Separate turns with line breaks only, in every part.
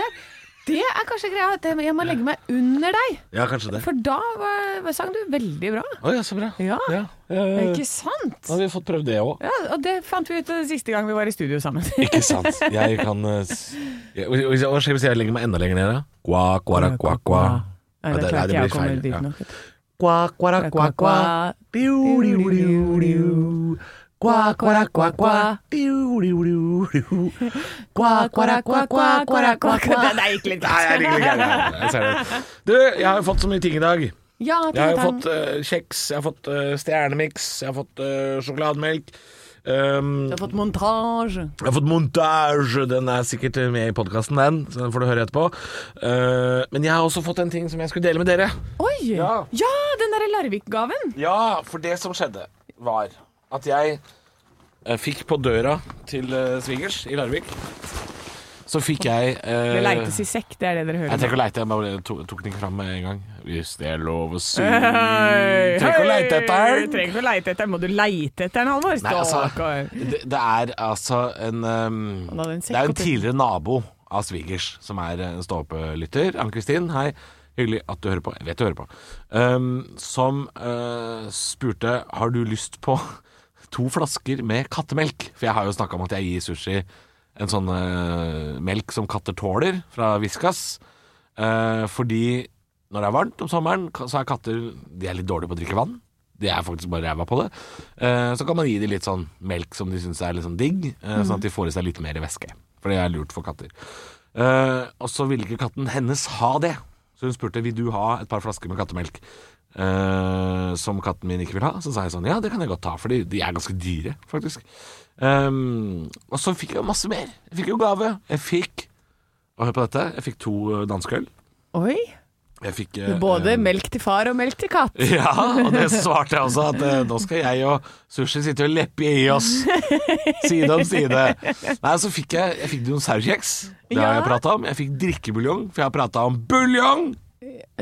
der. Det er kanskje greia. at Jeg må legge meg under deg.
Ja, kanskje det.
For da var, sang du veldig bra.
Å ja, så bra.
Ja.
ja. Eh,
Ikke sant?
da har vi fått prøvd det òg.
Ja, og det fant vi ut den siste gang vi var i studio sammen.
Ikke sant. Jeg kan eh, s- Ja, og- og- Hva skjer hvis jeg legger meg enda lenger ned, da? Quack, quack, quack, quack. Ja,
Nei, det
det- nei,
klarte
det
jeg
blir
å komme
feil,
dit
ja.
nok. vet du.
Quack, quack, quack, quack. Diu, diu, diu, diu. Quack, quack, quack, quack. Diu, diu, diu, diu. Quack, quack, quack, quack, quack, quack, quack.
Det gikk litt
Nei, jeg liker ikke det. Jeg ser det. Du, jeg har jo fått så mye ting i dag.
Ja,
Jeg har jo
Tingetan.
fått eh, kjeks, jeg har fått eh, stjernemiks, jeg har fått eh, sjokolademelk. Um,
Du har fått montasje.
jeg har fått montage, den er sikkert med i podkasten, den. Så den får du høre etterpå. Eh, men jeg har også fått en ting som jeg skulle dele med dere.
Oi! Ja,
Ja.
den derre Larvik-gaven.
Ja, for det som skjedde, var at jeg eh, fikk på døra til eh, svigers i Larvik Så fikk jeg eh,
Det leites i sekk, det er det dere
Jeg
hører.
trenger ikke å leite, jeg bare tok, tok den ikke fram med en gang. Hvis det er lov å si
Hei,
Trenger ikke å leite etter
hei,
den.
Trenger ikke å leite etter den. Må du leite etter den, Halvor?
Nei, altså,
Stakkar.
det, det er altså en um,
Han hadde en sekk
Det er jo
oppi.
en tidligere nabo av svigers som er en ståpelytter. Ann-Kristin, hei. Hyggelig at du hører på. Jeg vet du hører på. Um, som uh, spurte har du lyst på to flasker med kattemelk. For jeg har jo snakka om at jeg gir sushi en sånn uh, melk som katter tåler, fra Viskas. Eh, fordi når det er varmt om sommeren, ka- så er katter De er litt dårlige på å drikke vann. De er faktisk bare ræva på det. Eh, så kan man gi dem litt sånn melk som de syns er litt sånn digg, eh, sånn at de får i seg litt mer væske. For det er lurt for katter. Eh, og så ville ikke katten hennes ha det. Så hun spurte vil du ha et par flasker med kattemelk eh, som katten min ikke vil ha. Så sa jeg sånn ja, det kan jeg godt ta, for de de er ganske dyre, faktisk. Ehm, og så fikk jeg masse mer. Jeg fikk jo gave. Jeg fikk og hør på dette. Jeg fikk to eh, danskøl.
Oi.
Jeg fikk eh,
Både
eh,
melk til far og melk til katt.
Ja, og det svarte jeg også, at eh, nå skal jeg og sushi sitte og leppe i oss. Side om side. Nei, så fikk jeg, jeg fikk noen sauerkjeks. Det har
Ja.
jeg prata om. Jeg fikk drikkebuljong, for jeg har prata om buljong!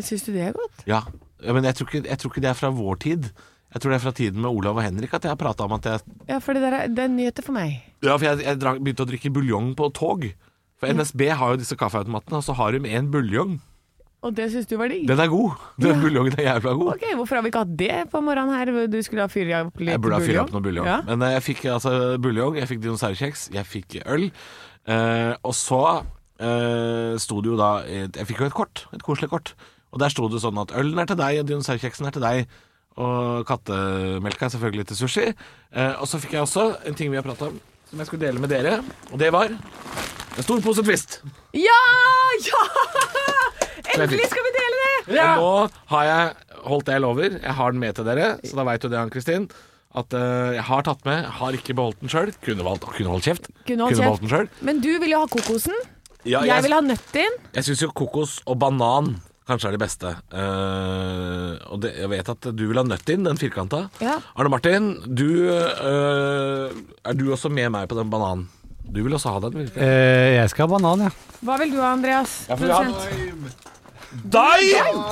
Syns du det er godt?
Ja, ja, men jeg tror, ikke, jeg tror ikke det er fra vår tid. Jeg tror det er fra tiden med Olav og Henrik at jeg har prata om at jeg
Ja, for det, der er, det er nyheter for meg.
Ja, for jeg, jeg dra- begynte å drikke buljong på tog. For NSB har jo disse kaffeautomatene, og så har de en buljong.
Og det syns du var digg?
Den er god. Den buljongen er jævla god.
Ok, Hvorfor har vi ikke hatt det på morgenen her? Du skulle ha fyrt opp litt
Jeg burde ha fyrt opp noe
buljong.
buljong.
Ja.
Men eh, jeg fikk altså buljong, jeg fikk dinosaurkjeks, jeg fikk øl. Eh, og så eh, sto det jo da et, Jeg fikk jo et kort, et koselig kort. Og der sto det sånn at ølen er til deg, og dinosaurkjeksen er til deg. Og kattemelka er selvfølgelig til sushi. Eh, og så fikk jeg også en ting vi har prata om, som jeg skulle dele med dere. Og det var en stor pose Twist.
Ja! Ja! Endelig skal vi dele det!
Og nå har jeg holdt det jeg lover. Jeg har den med til dere, så da veit du det, Ann-Kristin. At eh, jeg har tatt med, har ikke beholdt den sjøl. Kunne, valgt- kunne holdt kjeft.
Kunne holdt kjeft.
beholdt den selv.
Men du vil jo ha kokosen.
Ja,
Jeg vil
jeg
ha nøtten.
jeg syns jo kokos og banan kanskje er det beste. Eh, og det, jeg vet at du vil ha nøttin, den firkanta.
Ja.
Arne Martin, du eh, Er du også med meg på den bananen? Du vil også ha den? Virkelig.
Eh, jeg skal ha banan, ja.
Hva vil du ha, Andreas?
for vi har-
Produsent?
Dime!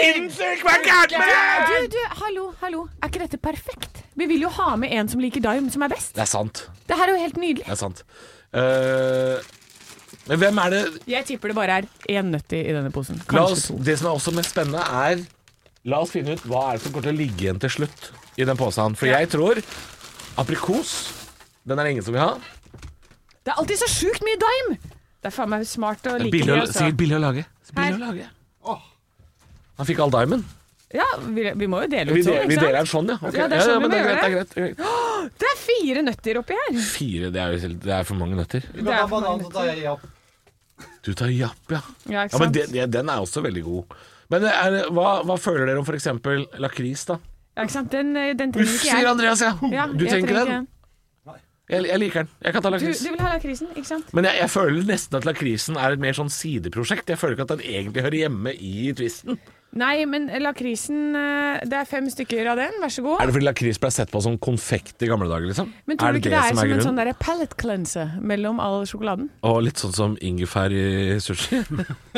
Sinnssykt! Hva er gærent med deg?
Du, du, hallo, hallo. Er ikke dette perfekt? Vi vil jo ha med en som liker Dime, som er best.
Det er sant.
Det her er jo helt nydelig.
Det er sant. Eh, men hvem er det
Jeg tipper det bare er én nøtt i i denne posen.
La oss,
Kanskje to.
det som er også mest spennende er La oss finne ut hva er det som kommer til å ligge igjen til slutt i den posen. For jeg tror aprikos Den er det ingen som vil ha.
Det er alltid så sjukt mye Dime! Det er faen meg smart å like
Billig
det.
å,
altså.
sikkert billig å lage. Billig
Her.
å lage. Han fikk all diamond.
Ja, vi, vi må jo dele
Vi,
ut sånn,
deler, vi
ikke sant?
deler den sånn, ja. Ok.
Ja, det er sånn vi
men
må
det, er
gjøre
greit, det er greit.
Det er fire nøtter oppi her.
Fire, det er, jo, selv- det er for mange nøtter.
Du
kan ta banan, så tar
jeg japp.
Du tar japp, ja.
Ja, ikke
ja men
sant?
det, det, den er også veldig god. Men er, det- hva, hva føler dere om f.eks. lakris, da?
Ja, ikke sant? Den, eh, den trenger
Uff,
ikke
sier
jeg.
Andreas, ja.
Ja,
Du
jeg
trenger
trenger
ikke den? Jeg, jeg liker den. Jeg kan ta
Du,
lakris.
du vil ha lakrisen, ikke sant?
Men jeg, jeg føler nesten at lakrisen er et mer sånn sideprosjekt. Jeg føler ikke at den egentlig hører hjemme i twisten.
Nei, men lakrisen eh, Det er fem stykker av den, vær så god.
Er det fordi lakris ble sett på som konfekt i gamle dager, liksom?
Men tror
er
du
det
ikke det er som en
grunnen?
sånn der palate cleanser mellom all sjokoladen?
Og litt sånn som ingefær i sushi.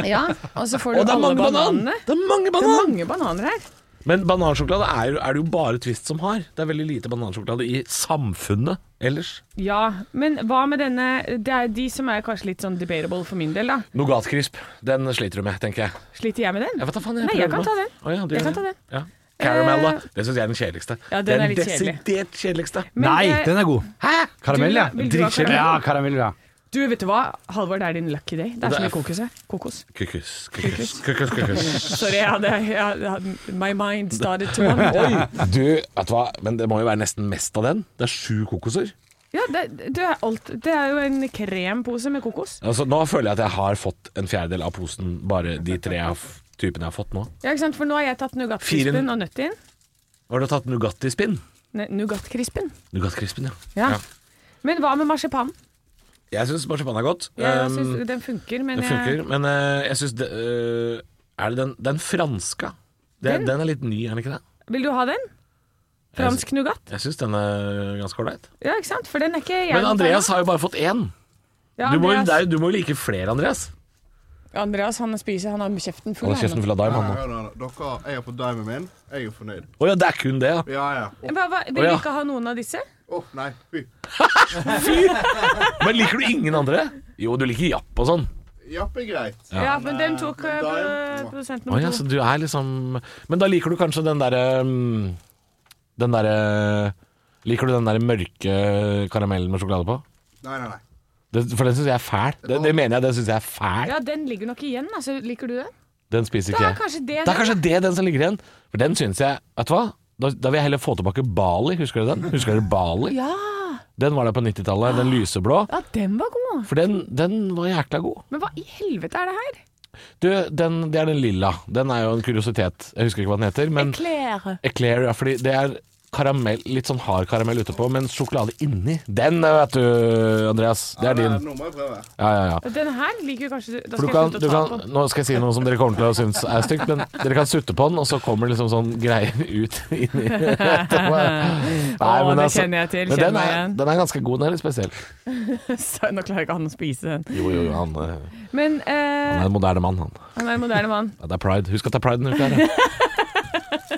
Ja, og så får
Og det
du
er
alle
mange banan!
bananene.
Det er mange
Det er
banan!
mange bananer her.
Men banansjokolade er, jo- er det jo bare Twist som har. Det er veldig lite banansjokolade i samfunnet ellers.
Ja, men hva med denne Det er de som er kanskje litt sånn debatable for min del, da.
Nougatkrisp, den sliter du med, tenker jeg.
Sliter jeg med den?
Jeg vet da faen,
Nei, jeg kan ta den.
Å ja, du
Jeg
gjør
kan ta den.
Ja. Caramella,
Eh,
det syns jeg er den kjedeligste.
Ja, den
Det
er litt kjedelig.
desidert kjedeligste.
Men eh,
Nei,
det-
den er god. Hæ? Karamell, ja.
Du, vil du ha
Dritkjedelig.
Ja,
karamell?
karamell, ja.
Du, vet du hva? Halvor, det er din lucky day. Det er
Det
så
er-
mye kokos her. Kokos.
Kukus, kukus, kukus, kukus.
Sorry, jeg hadde, jeg hadde My mind started to wander.
Du, vet du hva, men det må jo være nesten mest av den. Det er sju kokoser.
Ja, det, det, er alt, det er jo en krempose med kokos.
Altså, nå føler jeg at jeg har fått en fjerdedel av posen, bare de tre jeg har f- typene jeg har fått nå.
Ja, ikke sant? For nå har jeg tatt
Fire-
nougatkrispen og nøttin.
Har du tatt Nugatti-spinn?
Ne- Nougatkrispen.
Nougatkrispen, ja.
Ja.
Ja.
Men hva med marsipan?
Jeg syns marsipan er godt.
Jeg
Um,
synes den funker, men
det funker, men eh, jeg syns Er det den, den franske? Det, den?
Den?
er litt ny, er den ikke det?
jeg, eh, vil du ha den? Fransk nougat?
Jeg syns den er ganske ålreit.
Ja, ikke sant? For den er ikke jeg
Men Andreas har jo bare fått én.
ja,
Du må, jo-
Andreas,
det er jo- du må jo like flere, Andreas.
Andreas han spiser, han har kjeften full.
Han har
han.
kjeften full av daim,
Ja,
han nå.
ja, ja. Dere, jeg har fått dimen min. Jeg er fornøyd.
Å ja, det er kun det, ja.
Ja, ja. Å,
Hva, hva, vil
Å,
du
ja.
ikke ha noen av disse?
Å, nei. Fy.
Men liker du ingen andre? Jo, du liker japp og sånn.
Japp er greit.
Ja, men den tok eh,
men da-
produsent
Å ja,
nummer
så
to.
du er liksom Men da liker du kanskje den derre mm, Den derre Liker du den derre mørke karamellen med sjokolade på?
Nei, nei, nei.
Det, for den syns jeg er fæl. Det, det mener jeg, den syns jeg er fæl.
Ja, den ligger nok igjen. Altså, liker du den?
Den spiser
Da
ikke
er
jeg.
kanskje det
Det er
den.
kanskje det den som ligger igjen. For den syns jeg Vet du hva? Da, da vil jeg heller få tilbake Bali. Husker du den? Husker du Bali?
Ja,
Den var der på 90-tallet, den lyseblå.
ja, den var god. altså.
For den, den var jækla god.
Men hva i helvete er det her?
Du, den, det er den lilla. Den er jo en kuriositet. Jeg husker ikke hva den heter, men
Klær.
Eclair, ja, fordi det er karamell, litt sånn hard karamell utepå, men sjokolade inni. Den, eh, vet du, Andreas. Det er din.
Nå må jeg prøve.
Ja, ja, ja.
Den her liker jo kanskje Da
For
skal
du kan, du
jeg slutte å ta
kan,
på den.
nå skal jeg si noe som dere kommer til å synes er stygt, men dere kan sutte på den, og så kommer det liksom sånn greier ut inni etterpå.
Å,
men
det
altså-
kjenner jeg
Men
til, kjenner
den
meg
er,
igjen.
den er ganske god, den er litt spesiell.
Så Nå klarer ikke han å spise den.
Jo, jo, jo, han, eh,
Men
han
eh,
er en moderne mann, han.
han er en moderne mann.
Ja, det er pride. Husk at det er pride denne uka her. ja.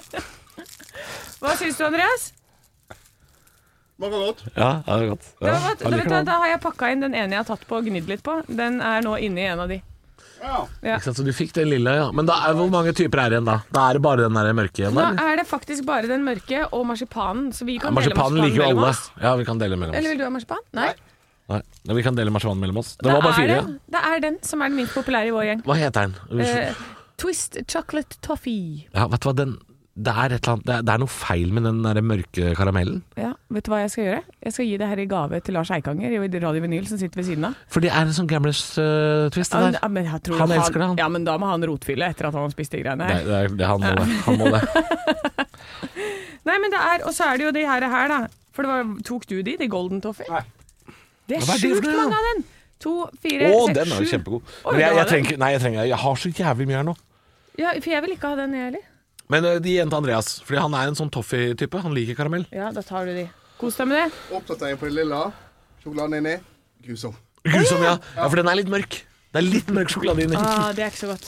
Hva syns du, Andreas?
Smaker godt.
Ja, ja, det er godt. Ja,
Da, vet,
jeg
da, vet
liker
du, hva,
den.
da har jeg pakka inn den ene jeg har tatt på og gnidd litt på. Den er nå inni en av de.
Ja.
Ja.
Ikke sant, så du fikk den lilla, ja. Men da er, hvor mange typer er det igjen da? Da er det bare den der mørke igjen,
Nå
da? eller?
er det faktisk bare den mørke og marsipanen, så vi
Ja,
kan dele
Marsipanen
marsipanen
liker jo
mellom
alle.
oss.
Ja, vi kan dele mellom
Eller
oss.
vil du ha marsipan? Nei.
Nei, men vi kan dele marsipanen mellom oss. Det
Da
var bare
er
fire.
det, det er den som er den minst populære i vår gjeng.
Hva heter den?
Eh, Twist chocolate toffee.
Ja, vet du hva, den det er, et eller annet, det, er, det er noe feil med den der mørke karamellen.
Ja, Vet du hva jeg skal gjøre? Jeg skal gi det her i gave til Lars Eikanger i Radio Vinyl, som sitter ved siden av.
For det er en sånn gamblers-twist. det
Ja,
der.
men- ja, men jeg tror
Han elsker det, han.
Ja, men da må han rotfylle etter at han har spist de greiene her.
Nei, det er, det, han, må det. han må det.
Nei, men det er, og så er det jo de her, her da. For det var, tok du de, de golden toffee?
Nei.
Det
Hva er
er
det for
sjukt
noe?
mange av den. To, fire,
Å,
seks,
den er jo
sju.
kjempegod.
Oi,
Men jeg,
det var
jeg, trenger, ikke- nei, jeg, trenger, jeg har så jævlig mye her nå.
Ja, for jeg vil ikke ha den jeg heller.
Men eh, de igjen til Andreas, Fordi han er en sånn toffee-type. Han liker karamell.
Ja, da tar du de. Kos deg med det.
Oppdatering på det lilla. Sjokoladen inni. Grusom.
Grusom, ja. ja, for den er litt mørk. Det er litt mørk sjokolade inni.
Ah, det er ikke så godt.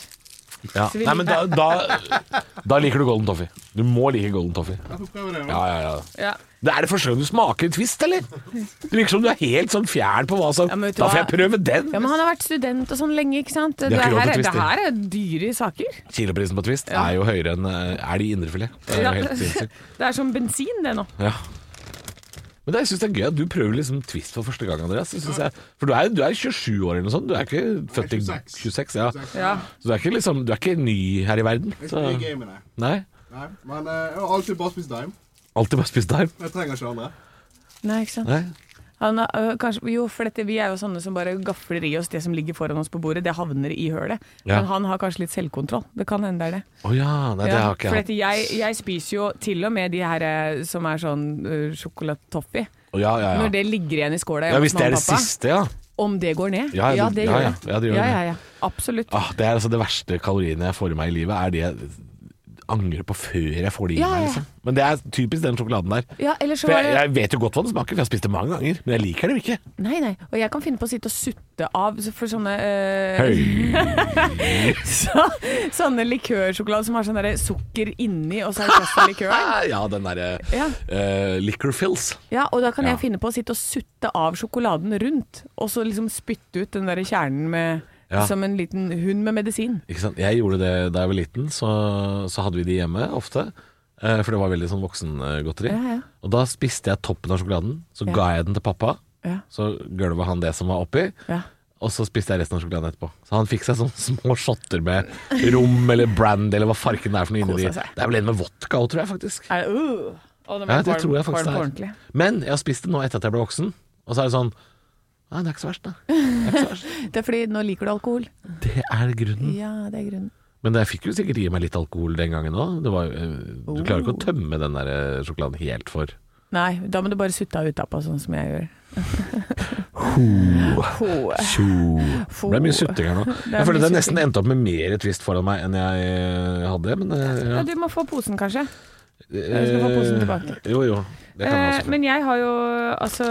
Ja.
Så vi
Nei, men da, da, da liker du golden toffee. Du må like golden toffee.
Jeg får prøve det nå.
Ja, ja, ja.
Ja.
Det er det første gang du smaker en twist, eller? Det virker som du er helt sånn fjern på hva som
Ja, men vet du
Da får
hva?
jeg prøve den!
men han har vært student og sånn lenge, ikke sant? Det,
har ikke råd
her,
til
er-
Twist,
det her er dyre saker.
Kiloprisen på twist
Ja.
er jo høyere enn eh, Er det i indrefilet? Det er
Ja.
jo helt sinnssykt.
Det er som bensin, det nå.
Ja. Men det, jeg synes det er gøy at du prøver liksom twist for første gang, Andreas. Det synes jeg, for du er, du er 27 år eller noe sånt. Du er ikke født i
26.
26, ja.
Ja.
Så du er ikke, liksom, du er ikke ny her i verden. Så,
Jeg skal ikke i gamet, nei.
nei.
Nei. Men eh, jeg har alltid bare spist daim.
Alltid bare spist darm.
Jeg trenger ikke andre.
Nei, ikke sant?
Nei.
Han har, øh, kanskje, jo, for dette, vi er jo sånne som bare gafler i oss det som ligger foran oss på bordet. Det havner i hølet.
Ja.
Men han har kanskje litt selvkontroll. Det kan hende det er det.
Å ja. Nei, det
Ja,
har ikke
for
jeg hatt.
dette, jeg, jeg spiser jo til og med de her eh, som er sånn uh, sjokolatetoffee.
Å, Ja, ja,
Når
ja.
det ligger igjen i skåla
ja.
hjemme
Hvis
hos
det er
mamma
det
og pappa.
siste, ja.
Om det går ned?
Ja,
Ja,
ja, ja,
det gjør
ja.
det.
Ja, det gjør det.
Absolutt.
Ah, det er altså det verste kaloriene jeg får i meg i livet, er de angrer på før jeg får det i
Ja,
meg.
ja.
Liksom. Men det er typisk den sjokoladen der.
Ja, eller så
For
var
jeg,
det
jeg vet jo godt hva det smaker, for jeg har spist det mange ganger. Men jeg liker det jo ikke.
Nei, nei. Og jeg kan finne på å sitte og sutte av så- for sånne eh,
Høy.
så, Sånne likørsjokolade som har sånn derre sukker inni, og så er det kassa likøren.
Ah, Ja, den derre
Ja.
eh, liquor fills.
Ja, og da kan
Ja.
jeg finne på å sitte og sutte av sjokoladen rundt, og så liksom spytte ut den derre kjernen med
Ja.
Som en liten hund med medisin.
Ikke sant? Jeg gjorde det da jeg var liten, så, så hadde vi de hjemme ofte. eh, For det var veldig sånn voksengodteri.
Ja, ja.
Og da spiste jeg toppen av sjokoladen, så
Ja.
ga jeg den til pappa.
Ja.
Så gølva han det som var oppi.
Ja.
Og så spiste jeg resten av sjokoladen etterpå. Så han fikk seg sånne små shotter med rom eller brandy eller hva farken det er for noe inni de.
Kosa seg.
Det er vel en med vodka òg, tror jeg faktisk.
Er det, uh, og den
Ja,
er
det
kvalm-
tror jeg
kvalm på
faktisk det
ordentlig.
er. Men jeg har spist det nå etter at jeg ble voksen, og så er det sånn Nei, det er ikke så verst, da. Det er, ikke så verst.
Det er fordi nå liker du alkohol.
Det er grunnen.
Ja, det er grunnen.
Men jeg fikk jo sikkert i meg litt alkohol den gangen òg. eh, Du klarer jo
Oh.
ikke å tømme den der eh, sjokoladen helt for
Nei, da må du bare sutte av utapå, sånn som jeg gjør. Ho.
Tjo.
Få-
Det ble mye sutting her nå.
er
Jeg føler
mye
det
sutting.
nesten endte opp med mer twist foran meg enn jeg eh, hadde. Men eh,
Ja,
ja.
du må få posen, kanskje.
Jeg
skal få posen tilbake.
Eh, Jo, jo. Det kan jeg
Eh,
også.
men jeg har jo altså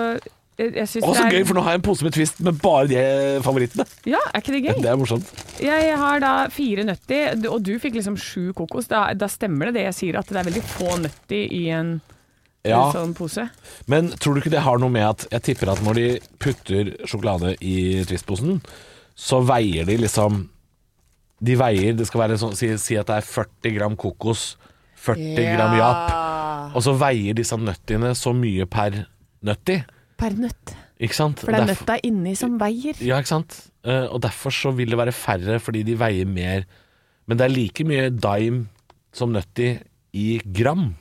jeg jeg syns
Å,
det
så
er
gøy, for nå har jeg en pose med Twist med bare de favorittene.
Ja, er ikke det gøy?
Det er morsomt.
Jeg har da fire nøtti, du- og du fikk liksom sju kokos. Da, da stemmer det det jeg sier, at det er veldig få nøtti i en
Ja,
sånn pose.
Men tror du ikke det har noe med at jeg tipper at når de putter sjokolade i Twist-posen, så veier de liksom De veier Det skal være sånn Si, si at det er 40 gram kokos, 40 gram Japp, og så veier disse nøttiene så mye per nøtti.
Per nøtt.
Ikke sant?
For det er
Derfor-
nøtta inni som veier.
Ja, ikke sant? Eh, og derfor så vil det være færre, fordi de veier mer. Men det er like mye dime som nøtti i gram,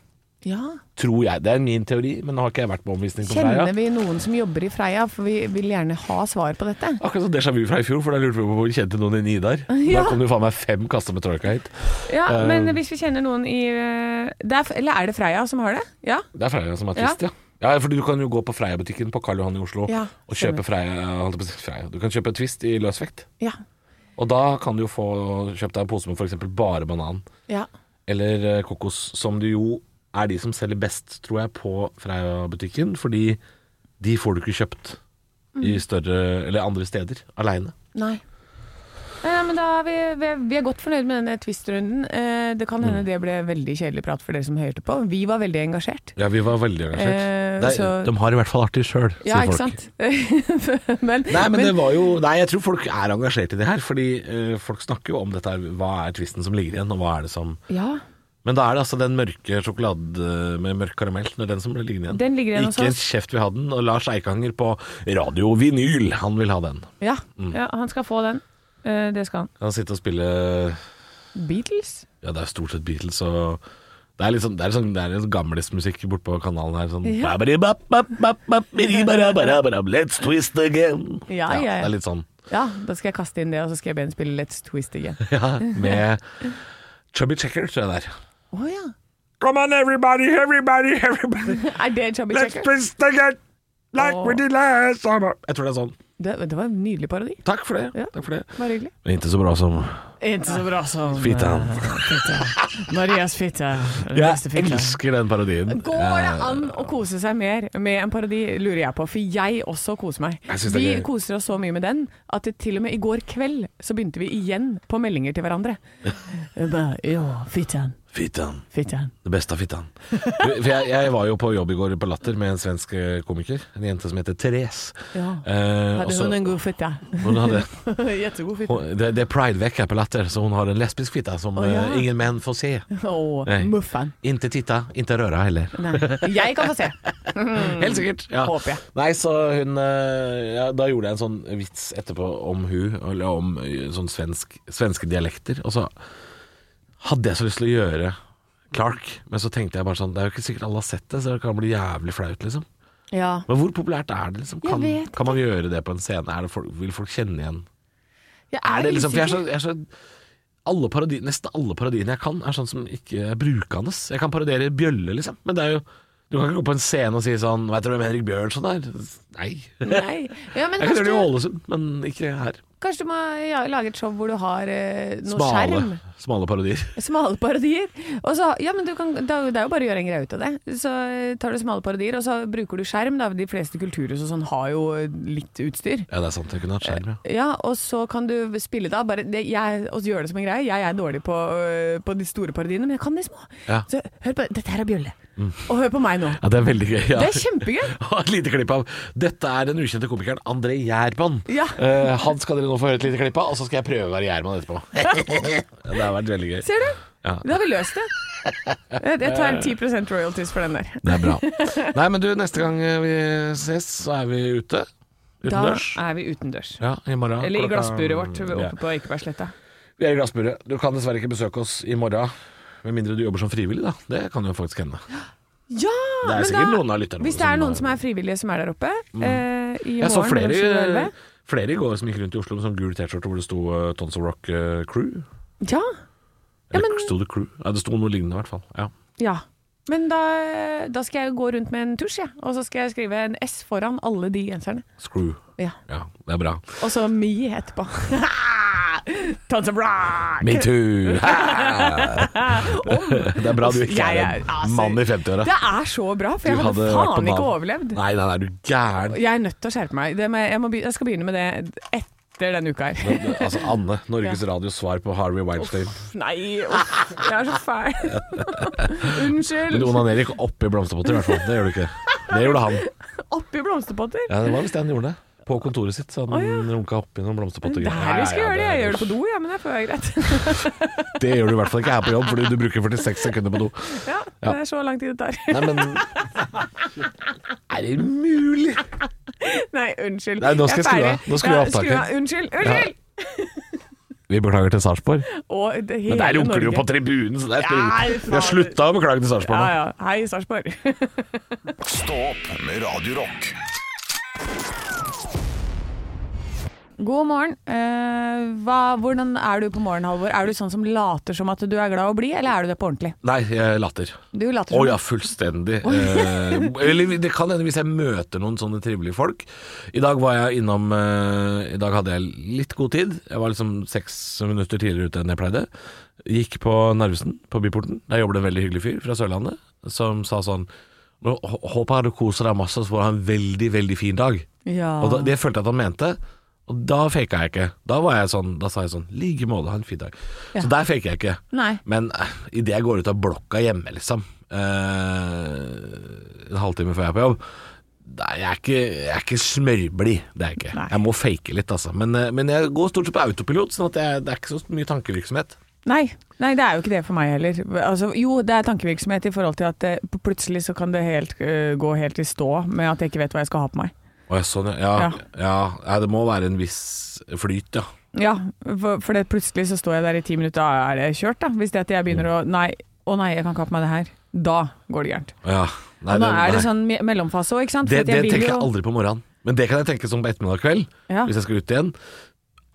Ja.
tror jeg. Det er min teori, men nå har ikke jeg vært på omvisning på
Kjenner
Freia.
vi noen som jobber i Freia, for vi vil gjerne ha svar på dette.
Akkurat som déjà vu fra i fjor, for da lurte vi på hvor vi kjente noen i Nidar.
Ja.
Da kom det jo faen meg fem kasser med troika hit.
Ja,
Eh,
men hvis vi kjenner noen i eh, det er, Eller er det Freia som har det? Ja.
Det er Freia som er trist, ja. ja. fordi du kan jo gå på Freia-butikken på Karl Johan i Oslo
Ja,
og
stemmer.
kjøpe Freia, holdt jeg på å si, Freia. Du kan kjøpe Twist i løsvekt.
Ja.
Og da kan du jo få kjøpt deg en pose med f.eks. bare banan.
ja.
eller eh, kokos, som du jo er de som selger best, tror jeg, på Freia-butikken. Fordi de får du ikke kjøpt
Mm.
i større eller andre steder aleine.
Nei. Nei, nei, men da er vi, vi, vi er godt fornøyd med denne twist-runden. Eh, det kan hende det ble veldig kjedelig prat for dere som hørte på. Vi var veldig engasjert.
Ja, vi var veldig engasjert.
Eh,
Det er-
så-
De har i hvert fall artig sjøl,
Ja,
sier
ikke
folk.
sant? men,
Nei, men, det var jo Nei, jeg tror folk er engasjert i det her. Fordi eh, folk snakker jo om dette her. Hva er tvisten som ligger igjen, og hva er det som
ja,
Men da er det altså den mørke sjokoladen med mørk karamell, det er den som blir liggende igjen.
Den ligger igjen hos
ikke en
oss.
kjeft vil ha den. Og Lars Eikanger på Radio Vinyl, han vil ha den.
ja, ja, han skal få den. Eh, det skal han.
Han sitter og spille
Beatles?
Ja, det er stort sett Beatles og det er litt sånn, det er sånn, det er litt sånn gamlismusikk borte på kanalen her. Sånn
Ja.
Babadibap, bap, bap, bap, biribarabarabarab, Let's twist again.
Ja, ja, ja.
Det er litt sånn.
Ja, da skal jeg kaste inn det, og så skal jeg be ham spille Let's Twist again.
Ja, med Chubby Checker, tror jeg det er.
Å ja.
Come on everybody, everybody, everybody,
Er det Chubby
let's
Checker?
twist again. Like
Åh.
we did last summer. Jeg tror det er sånn.
Det, det var en nydelig parodi.
Takk for det.
Ja.
Takk for det.
Bare hyggelig.
Men ikke så bra som
Ikke så bra som
Fitta.
Marias fitte.
Jeg elsker den parodien. Eh,
Går det an å kose seg mer med en parodi, lurer jeg på. For jeg også koser meg.
Jeg synes det
Vi
er gøy.
koser oss så mye med den at det, til og med i går kveld så begynte vi igjen på meldinger til hverandre. Jeg bare, Ja, fittan,
Fittan.
fittan.
Det beste av fittan. For jeg, jeg var jo på jobb i går på Latter med en svensk eh, komiker. En jente som heter Therese.
Ja.
Eh, og
Hadde
så-
hun en god fitte?
hun hadde,
Jettegod fitte.
hun, det, det er pridevecka på Latter, så hun har en lesbisk fitte som
Å, ja.
eh, ingen menn får se.
Og
Nei.
muffan.
Inte titta, inte röra heller.
Nei. Jeg kan få se.
Helt sikkert. Ja.
Mm. Håper jeg.
Nei, så hun eh, ja, Da gjorde jeg en sånn vits etterpå om hun, eller om eh, sånn svensk, svenske dialekter. Og så hadde jeg så lyst til å gjøre Clark, men så tenkte jeg bare sånn Det er jo ikke sikkert alle har sett det, så det kan bli jævlig flaut, liksom.
Ja.
Men hvor populært er det? liksom?
Jeg
Kan,
vet
kan man gjøre det på en scene? Er det folk, vil folk kjenne igjen?
Jeg
Er det liksom, for jeg er så,
usikker.
jeg er så alle parodi, Nesten alle parodiene jeg kan, er sånn som ikke er brukende. Jeg kan parodiere bjølle, liksom. Men det er jo Du kan ikke gå på en scene og si sånn Veit dere hvem Henrik Bjørnson er? Nei.
Nei. Ja, men
Jeg kan gjøre det i
kanskje,
Ålesund, men ikke her.
kanskje du må ja, lage et show hvor du har eh, noe
Smale,
skjerm.
smale parodier.
Smale parodier. Og så, ja, men du kan, det er jo- det er jo bare å gjøre en greie ut av det. Så eh, tar du smale parodier, og så bruker du skjerm. Da. De fleste kulturhus og sånn har jo eh, litt utstyr.
Ja, det er sant. Jeg kunne hatt skjerm, ja.
Ja, og så kan du spille det av. Bare det, jeg, og så gjør det som en greie. Jeg er dårlig på, øh, på de store parodiene, men jeg kan de små.
Ja. Mm.
Så hør på Dette her er Bjølle. Og hør på meg nå.
Ja, Det er veldig gøy. Ja.
Det er kjempegøy!
Og et lite klipp av Dette er den ukjente komikeren André Gjerman.
Ja.
Eh, han skal dere nå få høre et lite klipp av, og så skal jeg prøve å være Gjerman etterpå. Ja, det har vært veldig gøy.
Ser du?
Ja.
Da har vi løst det. Jeg jeg tar 10 royalties for den der.
Det er bra. Nei, men du, neste gang vi ses, så er vi ute.
Da
Utendørs.
er vi utendørs.
Ja, i morgen.
Eller i
klokka-
glassburet vårt
Ja.
oppe på Ekebergsletta.
Vi er i glassburet. Du kan dessverre ikke besøke oss i morgen. Med mindre du jobber som frivillig, da. Det kan jo faktisk hende.
Ja!
Det er
men
sikkert
da-
noen av lytterne
Hvis det er noen som er frivillige som er der oppe eh, i
Mm. Jeg så
morgen mellom sju og
flere,
elleve.
flere i går som gikk rundt i Oslo med sånn gul T-skjorte hvor det sto eh, Tons of Rock eh, Crew.
Ja. Ja,
Eller
men-
sto det Crew? Ja, det sto noe lignende i hvert fall. Ja.
Ja. Men da, da skal jeg gå rundt med en tusj, jeg. Og så skal jeg skrive en S foran alle de genserne.
Screw.
Ja.
Ja, det er bra.
Og så me etterpå. Tons of rock!
Me too! det er bra du ikke
Jeg
er
er- altså,
en mann i 50-åra.
Det er så bra, for jeg
Du
hadde,
hadde vært på
faen ikke
Nav.
overlevd.
Nei, nei, nei, du gæren.
Jeg er nødt til å skjerpe meg. Det må, jeg, må, be- jeg skal begynne med det etter denne uka her.
Altså, Anne, Norges Radios svar på Harvey Weinstein.
Nei, uff, jeg er så fæl.
Men
Unnskyld.
du onanerer ikke oppi blomsterpotter, i hvert fall. Det gjør du ikke. Det gjorde han.
Oppi blomsterpotter.
Ja, Det var visst det han gjorde. det. På kontoret sitt. Så han runka oppi noen
Det
blomsterpotter.
er der vi skal gjøre det. Jeg gjør det på do, ja, men det får være greit.
Det gjør du i hvert fall ikke her på jobb, fordi du bruker 46 sekunder på do.
Ja, det er så lang tid det tar.
Nei, men Er det mulig?
Nei, unnskyld.
Nei, nå skal jeg skru
ferdig.
av. Nå skrur jeg
Ja,
av opptaket.
skru Unnskyld. unnskyld!
Vi beklager til Sarpsborg.
Og det hele
Men der runker du jo
Norge.
på tribunen, så det er
Ja,
ikke-
faen.
Vi har slutta å beklage til Sarpsborg. nå.
Ja, ja. Hei, Sarpsborg.
Stå opp med Radio Rock.
God morgen. Eh, hva, hvordan er du på morgenen, Halvor? Er du sånn som later som at du er glad å bli, eller er du det på ordentlig?
Nei, jeg latter.
Du later
Å
som
ja, fullstendig. Eh, eller det kan hende hvis jeg møter noen sånne trivelige folk. I dag var jeg innom eh, I dag hadde jeg litt god tid. Jeg var liksom seks minutter tidligere ute enn jeg pleide. Gikk på Narvesen, på Byporten. Der jobber det en veldig hyggelig fyr fra Sørlandet som sa sånn nå, hå- Håper jeg du koser deg masse, så får du ha en veldig, veldig fin dag.
Ja.
Og da, Det følte jeg at han mente, og da faka jeg ikke. Da var jeg sånn, da sa jeg sånn like måte, ha en fin dag. Så der faka jeg ikke.
Nei.
Men eh, idet jeg går ut av blokka hjemme, liksom, eh, en halvtime før jeg er på jobb da er jeg, er ikke, jeg er ikke smørblid, det er jeg ikke.
Nei.
Jeg må fake litt, altså. Men, eh, men jeg går stort sett på autopilot, sånn at jeg, det er ikke så mye tankevirksomhet.
Nei. Nei, det er jo ikke det for meg heller. Altså, jo, det er tankevirksomhet i forhold til at eh, plutselig så kan det helt, eh, gå helt i stå med at jeg ikke vet hva jeg skal ha på meg.
Å, ja, sånn, ja. Ja,
Ja.
ja. Nei, det må være en viss flyt, ja.
Ja, for, for det, plutselig så står jeg der i ti minutter, da er det kjørt, da. Hvis det at jeg begynner å Nei, å nei, jeg kan ikke ha på meg det her. Da går det gærent.
ja. Nei,
Og nå er det
nei.
sånn me- mellomfase òg, ikke sant? For
det,
at
det
vil
tenker jeg
jo-
aldri på morgenen. Men det kan jeg tenke sånn på ettermiddag kveld,
Ja.
hvis jeg skal ut igjen.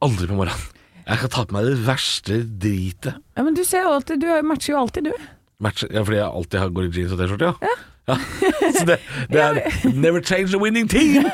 Aldri på morgenen. Jeg kan ta på meg det verste dritet.
ja, men du ser jo alltid, du matcher jo alltid, du.
Match, ja, fordi jeg alltid har- går i jeans og T-skjorte, ja? Ja. Så det, det er Never change a winning team!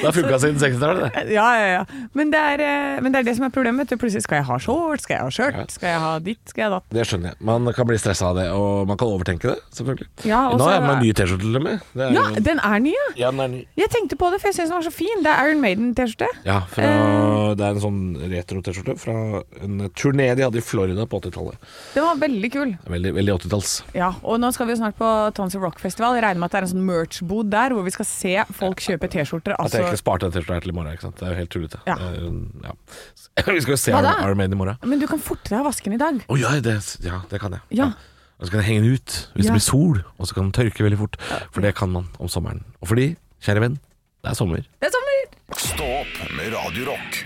Det har funka siden 60-tallet, det.
Ja, ja, ja. Men det er, eh, men det, er det som er problemet. vet du. Plutselig skal jeg ha shorts, skal jeg ha skjørt, skal jeg ha ditt, skal jeg ha datt.
Det skjønner jeg. Man kan bli stressa av det, og man kan overtenke det, selvfølgelig.
Ja, og
Nå
så-
har jeg med en ny T-skjorte til og med. Det er
Ja,
jo-
den er ny, ja!
ja, den er ny.
Jeg tenkte på det, for jeg syns den var så fin. Det er Iron Maiden-T-skjorte.
Ja, fra,
Eh.
det er en sånn retro-T-skjorte fra en turné de hadde i Florida på 80-tallet.
Den var veldig kul.
Det er Veldig, veldig 80-talls.
Ja, Og nå skal vi jo snart på Tons of Rock-festival. Jeg regner med at det er en sånn merch-bod der hvor vi skal se folk kjøpe T-skjorter.
At jeg
Altså.
ikke sparte den T-skjorta her til i morgen, ikke sant. Det er jo helt tullete.
Ja.
Det er jo- Ja. Vi skal jo se
Hva da?
Iron Maiden i morgen.
Men du kan forte deg å vaske den i dag.
Å ja, det, ja, det kan jeg.
Ja.
Og så kan jeg henge den ut hvis det
Ja.
blir sol, og så kan den tørke veldig fort. For det kan man om sommeren. Og fordi, kjære venn, det er sommer.
Det er sommer!
Stå opp med Radio Rock.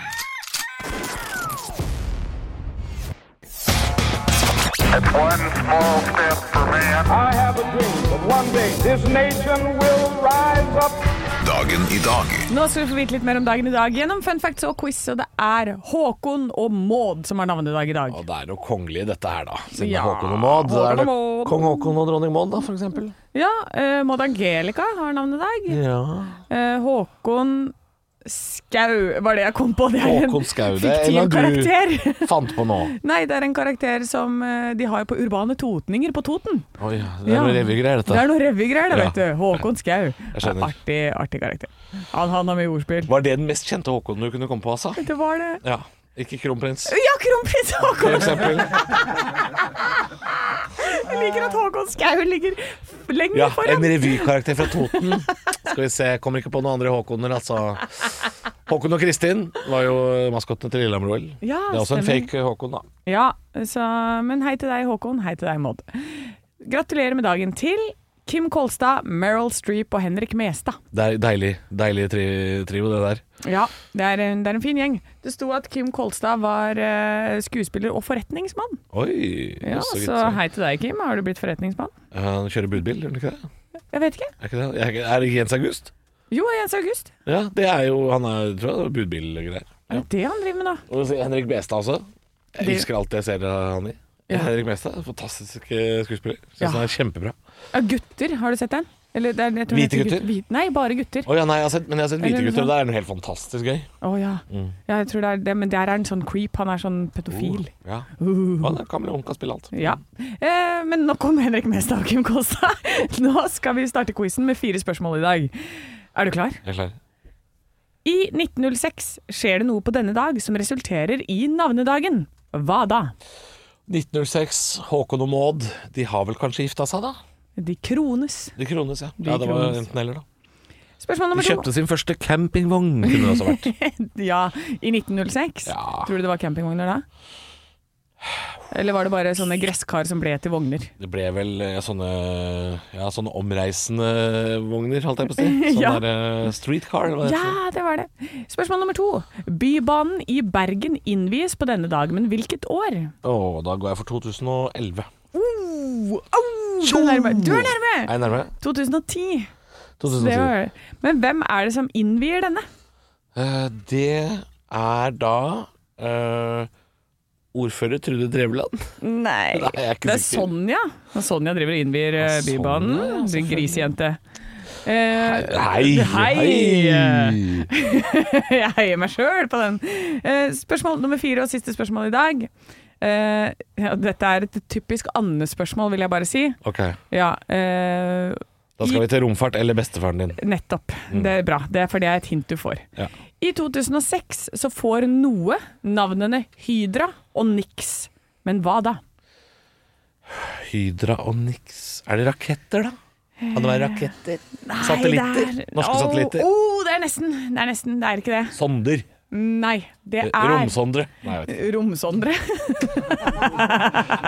One small step for man.
I have a dream that one day this nation will rise up.
The Dagen i dag
Nå skal du få vite litt mer om dagen i dag gjennom fun facts og quiz. Og det er Håkon og Maud som har navnedag i dag.
Og det er noe kongelig i dette her, da. Siden
Ja,
det er Håkon og Maud. så
Håkon og
er det
Maud.
kong Håkon og dronning Maud, da, for eksempel.
Ja, eh, Maud Angelica har navnedag.
Ja.
Eh, Håkon Skau var det jeg kom på. Det er en
Håkon Skau, det er en
fiktiv
av du
karakter.
fant på nå.
Nei, det er en karakter som eh, de har på Urbane Totninger på Toten.
Oi, det er noe
Ja.
revygreier,
Det
dette.
er noe revygreier, det,
Ja.
vet du. Håkon Skau.
skjønner.
Artig, artig karakter. Han, han har mye ordspill.
Var det den mest kjente Håkon du kunne komme på, altså?
Det var det.
Ja. Ikke kronprins,
Ja, kronprins
for
Håkon!
eksempel.
Jeg liker at Håkon Skau ligger f- lenger
Ja, en
foran.
revykarakter fra Toten. Skal vi se, kommer ikke på noen andre Håkoner, altså. Håkon og Kristin var jo maskottene til Lillehammer-OL.
Ja,
Det er også en
stemmer.
fake Håkon, da.
Ja, så, men hei til deg Håkon, hei til deg Maud. Gratulerer med dagen til Kim Kolstad, Meryl Streep og Henrik Mestad.
Det er deilig, deilig tri trio, det der.
Ja, det er, en, det er en fin gjeng. Det sto at Kim Kolstad var eh, skuespiller og forretningsmann.
Oi!
Ja,
jøss,
så
gitt.
hei til deg, Kim. Har du blitt forretningsmann?
Han kjører budbil, gjør han ikke det?
Jeg vet ikke.
Er, ikke det? er ikke- er det Jens August?
Jo, Jens August.
Ja, det er jo Han er, tror jeg, det er budbilgreier.
Er det det han driver med, da?
Og så Henrik Bestad også. Jeg
Det-
elsker alt jeg ser av han i.
Ja.
Henrik Bestad, fantastisk eh, skuespiller. Syns
Ja.
han er kjempebra.
Ja, gutter, har du sett den? Eller, det er, jeg tror
Hvite
den heter
gutter?
Hvit- nei, bare gutter. Å
Å ja, nei, jeg har sett, men jeg har sett
Eller
Hvite
noe
gutter,
sånt.
og det er noe helt fantastisk gøy.
ja.
Mm.
ja. Jeg tror det er det, men der er han sånn creep. Han er sånn pedofil.
Ja.
Uh.
Han er kameleon, kan spille alt.
Ja. Eh, men nok om Henrik Mestad og Kim Kolstad. Nå skal vi starte quizen med fire spørsmål i dag. Er du klar?
Jeg er klar.
I 1906 skjer det noe på denne dag som resulterer i navnedagen. Hva da?
1906, Håkon og Maud. De har vel kanskje gifta seg, da?
De krones.
De krones, ja.
De
ja det var
krones.
enten eller, da.
Spørsmål
De
nummer to.
kjøpte sin første campingvogn, kunne det også vært.
Ja, i 1906.
Ja.
Tror du det var campingvogner da? Eller var det bare sånne gresskar som ble til vogner?
Det ble vel eh, sånne, ja, sånne omreisende vogner, holdt jeg på å si. Sånn
Ja.
der eh, streetcar. eller hva det heter.
Ja, det var det. Spørsmål nummer to. Bybanen i Bergen innvies på denne dag, men hvilket år?
Å, da går jeg for 2011.
Oh, du er nærme! Du er
Er
nærme!
jeg nærme?
2010. Så
2010.
Det var det. Men hvem er det som innvier denne?
Eh, det er da eh, ordfører Trude Drevland.
Nei,
Nei, jeg er ikke
det er sånn-
sikker.
Sonja. Sonja driver og innvier eh,
Ja, Sonja,
Bybanen.
ja,
Din
selvfølgelig.
grisejente. Eh,
Hei!
Hei! jeg heier meg sjøl på den. Eh, spørsmål nummer fire og siste spørsmål i dag. Eh, ja, dette er et typisk Anne-spørsmål, vil jeg bare si.
Ok,
Ja, eh,
da skal vi til romfart eller bestefaren din.
Nettopp. Det er bra. Det er, for det er et hint du får.
Mm. Ja.
I 2006 så får noe navnene Hydra og Nix. Men hva da?
Hydra og Nix. Er det raketter, da? Kan det være raketter? Satellitter?
det er-
Norske
Åh,
satellitter?
åh, det er nesten. Det er nesten. Det er ikke det.
Sonder?
Nei, det
Eh,
er
Romsondre? Nei, jeg vet ikke.
Romsondre.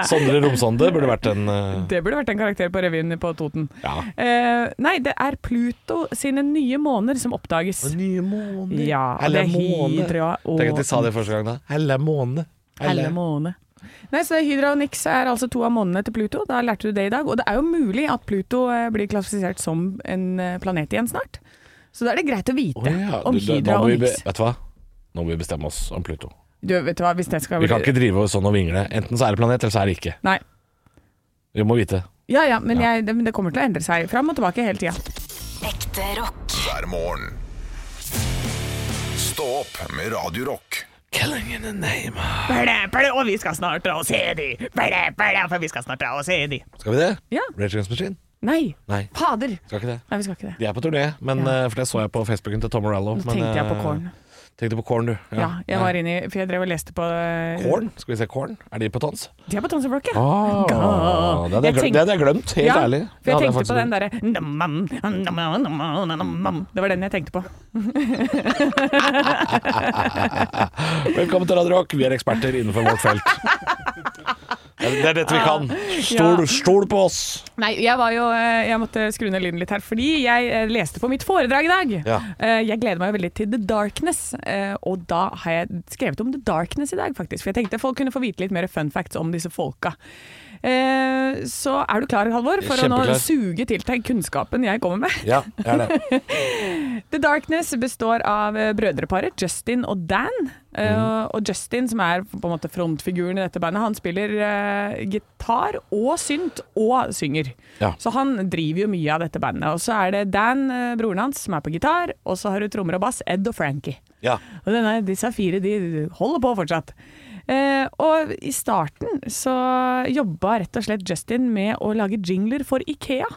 Sondre Romsonde burde vært en eh,
Det burde vært en karakter på revyen på Toten.
Ja.
Eh, nei, det er Pluto sine nye måner som oppdages.
Nye måner.
Ja, og det er Hydra og
Tenk at de sa det første gang, da. Helle måne.
Alle månene. Nei, så det er Hydra og Nix er altså to av månedene til Pluto. Da lærte du det i dag. Og det er jo mulig at Pluto eh, blir klassifisert som en eh, planet igjen snart. Så da er det greit å vite
Å ja,
om
du, du,
Hydra
nå må
og
vi be-
Nix.
Vet du hva? Nå må vi bestemme oss om Pluto.
Du, vet du hva, hvis det skal
Vi
bli
kan ikke drive og sånn og vingle. Enten så er det planet, eller så er det ikke.
Nei.
Vi må vite.
Ja ja, men, Jeg, det, men det kommer til å endre seg fram og tilbake hele tida.
Ekte rock.
hver morgen. Stå opp med Radio Rock.
Killing in the name
Og vi skal snart dra og se de! Blæ, blæ, for vi skal snart dra og se de!
Skal vi det?
Ja.
Rage Against Machine?
Nei,
Nei,
fader!
skal ikke det.
Nei, vi skal ikke det.
De er på turné, men, eh, for det så jeg på Facebooken til Tom Morello.
Nå tenkte jeg på
eh,
Korn.
Tenkte på Korn, du.
Ja, jeg var inne i For jeg drev og leste på eh,
Korn? Skal vi se Korn? Er de på tons?
De er på Tons of Rock, ja.
Oh, det hadde jeg
Jeg
glem-
tenk-
det hadde jeg glemt, helt
ja,
ærlig.
For jeg
hadde
tenkte
faktisk sånn.
på den derre «Nam-mam, nam-mam, nam-mam, nam-mam». Det var den jeg tenkte på.
glemt. Velkommen til Radio Rock, vi er eksperter innenfor vårt felt. Det er dette vi kan. Stol,
Ja.
stol på oss.
Nei, jeg var jo eh, Jeg måtte skru ned lyden litt her, fordi jeg eh, leste på mitt foredrag i dag.
Ja.
Eh, Jeg gleder meg jo veldig til The Darkness, eh, og da har jeg skrevet om The Darkness i dag, faktisk. For jeg tenkte folk kunne få vite litt mer fun facts om disse folka. Eh, så er du klar, Halvor, for å nå
Kjempeklar.
suge til deg kunnskapen jeg kommer med?
Ja, jeg er det.
The Darkness består av eh, brødreparet Justin og Dan. Eh,
Mm.
Og Justin, som er på en måte frontfiguren i dette bandet, han spiller eh, gitar og synt og synger.
Ja.
Så han driver jo mye av dette bandet. Og så er det Dan, eh, broren hans, som er på gitar, og så har du trommer og bass, Ed og Frankie.
Ja.
Og denne, disse fire de holder på fortsatt. Eh, og i starten så jobba rett og slett Justin med å lage jingler for Ikea.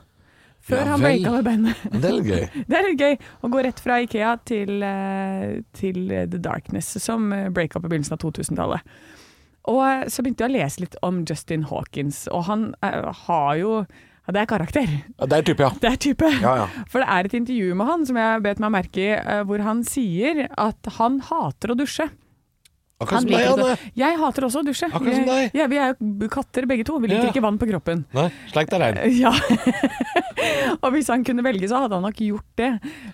Før
Ja
han
vel.
breaka med bandet.
Det er litt gøy.
Det er litt gøy å gå rett fra Ikea til, eh, til eh, The Darkness, som eh, breaka på begynnelsen av 2000-tallet. Og eh, så begynte jeg å lese litt om Justin Hawkins, og han eh, har jo ja, Det er karakter.
Ja, det er type, ja.
Det er type.
Ja, ja.
For det er et intervju med han som jeg bet meg merke i, eh, hvor han sier at han hater å dusje.
Akkurat som
Han
deg,
liker
Anne.
ikke å- Jeg hater også å dusje.
Akkurat som
Jeg-
deg.
Ja, vi er jo katter begge to. Vi liker
Ja.
ikke vann på kroppen.
Nei, slik det er rein.
Ja. og hvis han kunne velge, så hadde han nok gjort det.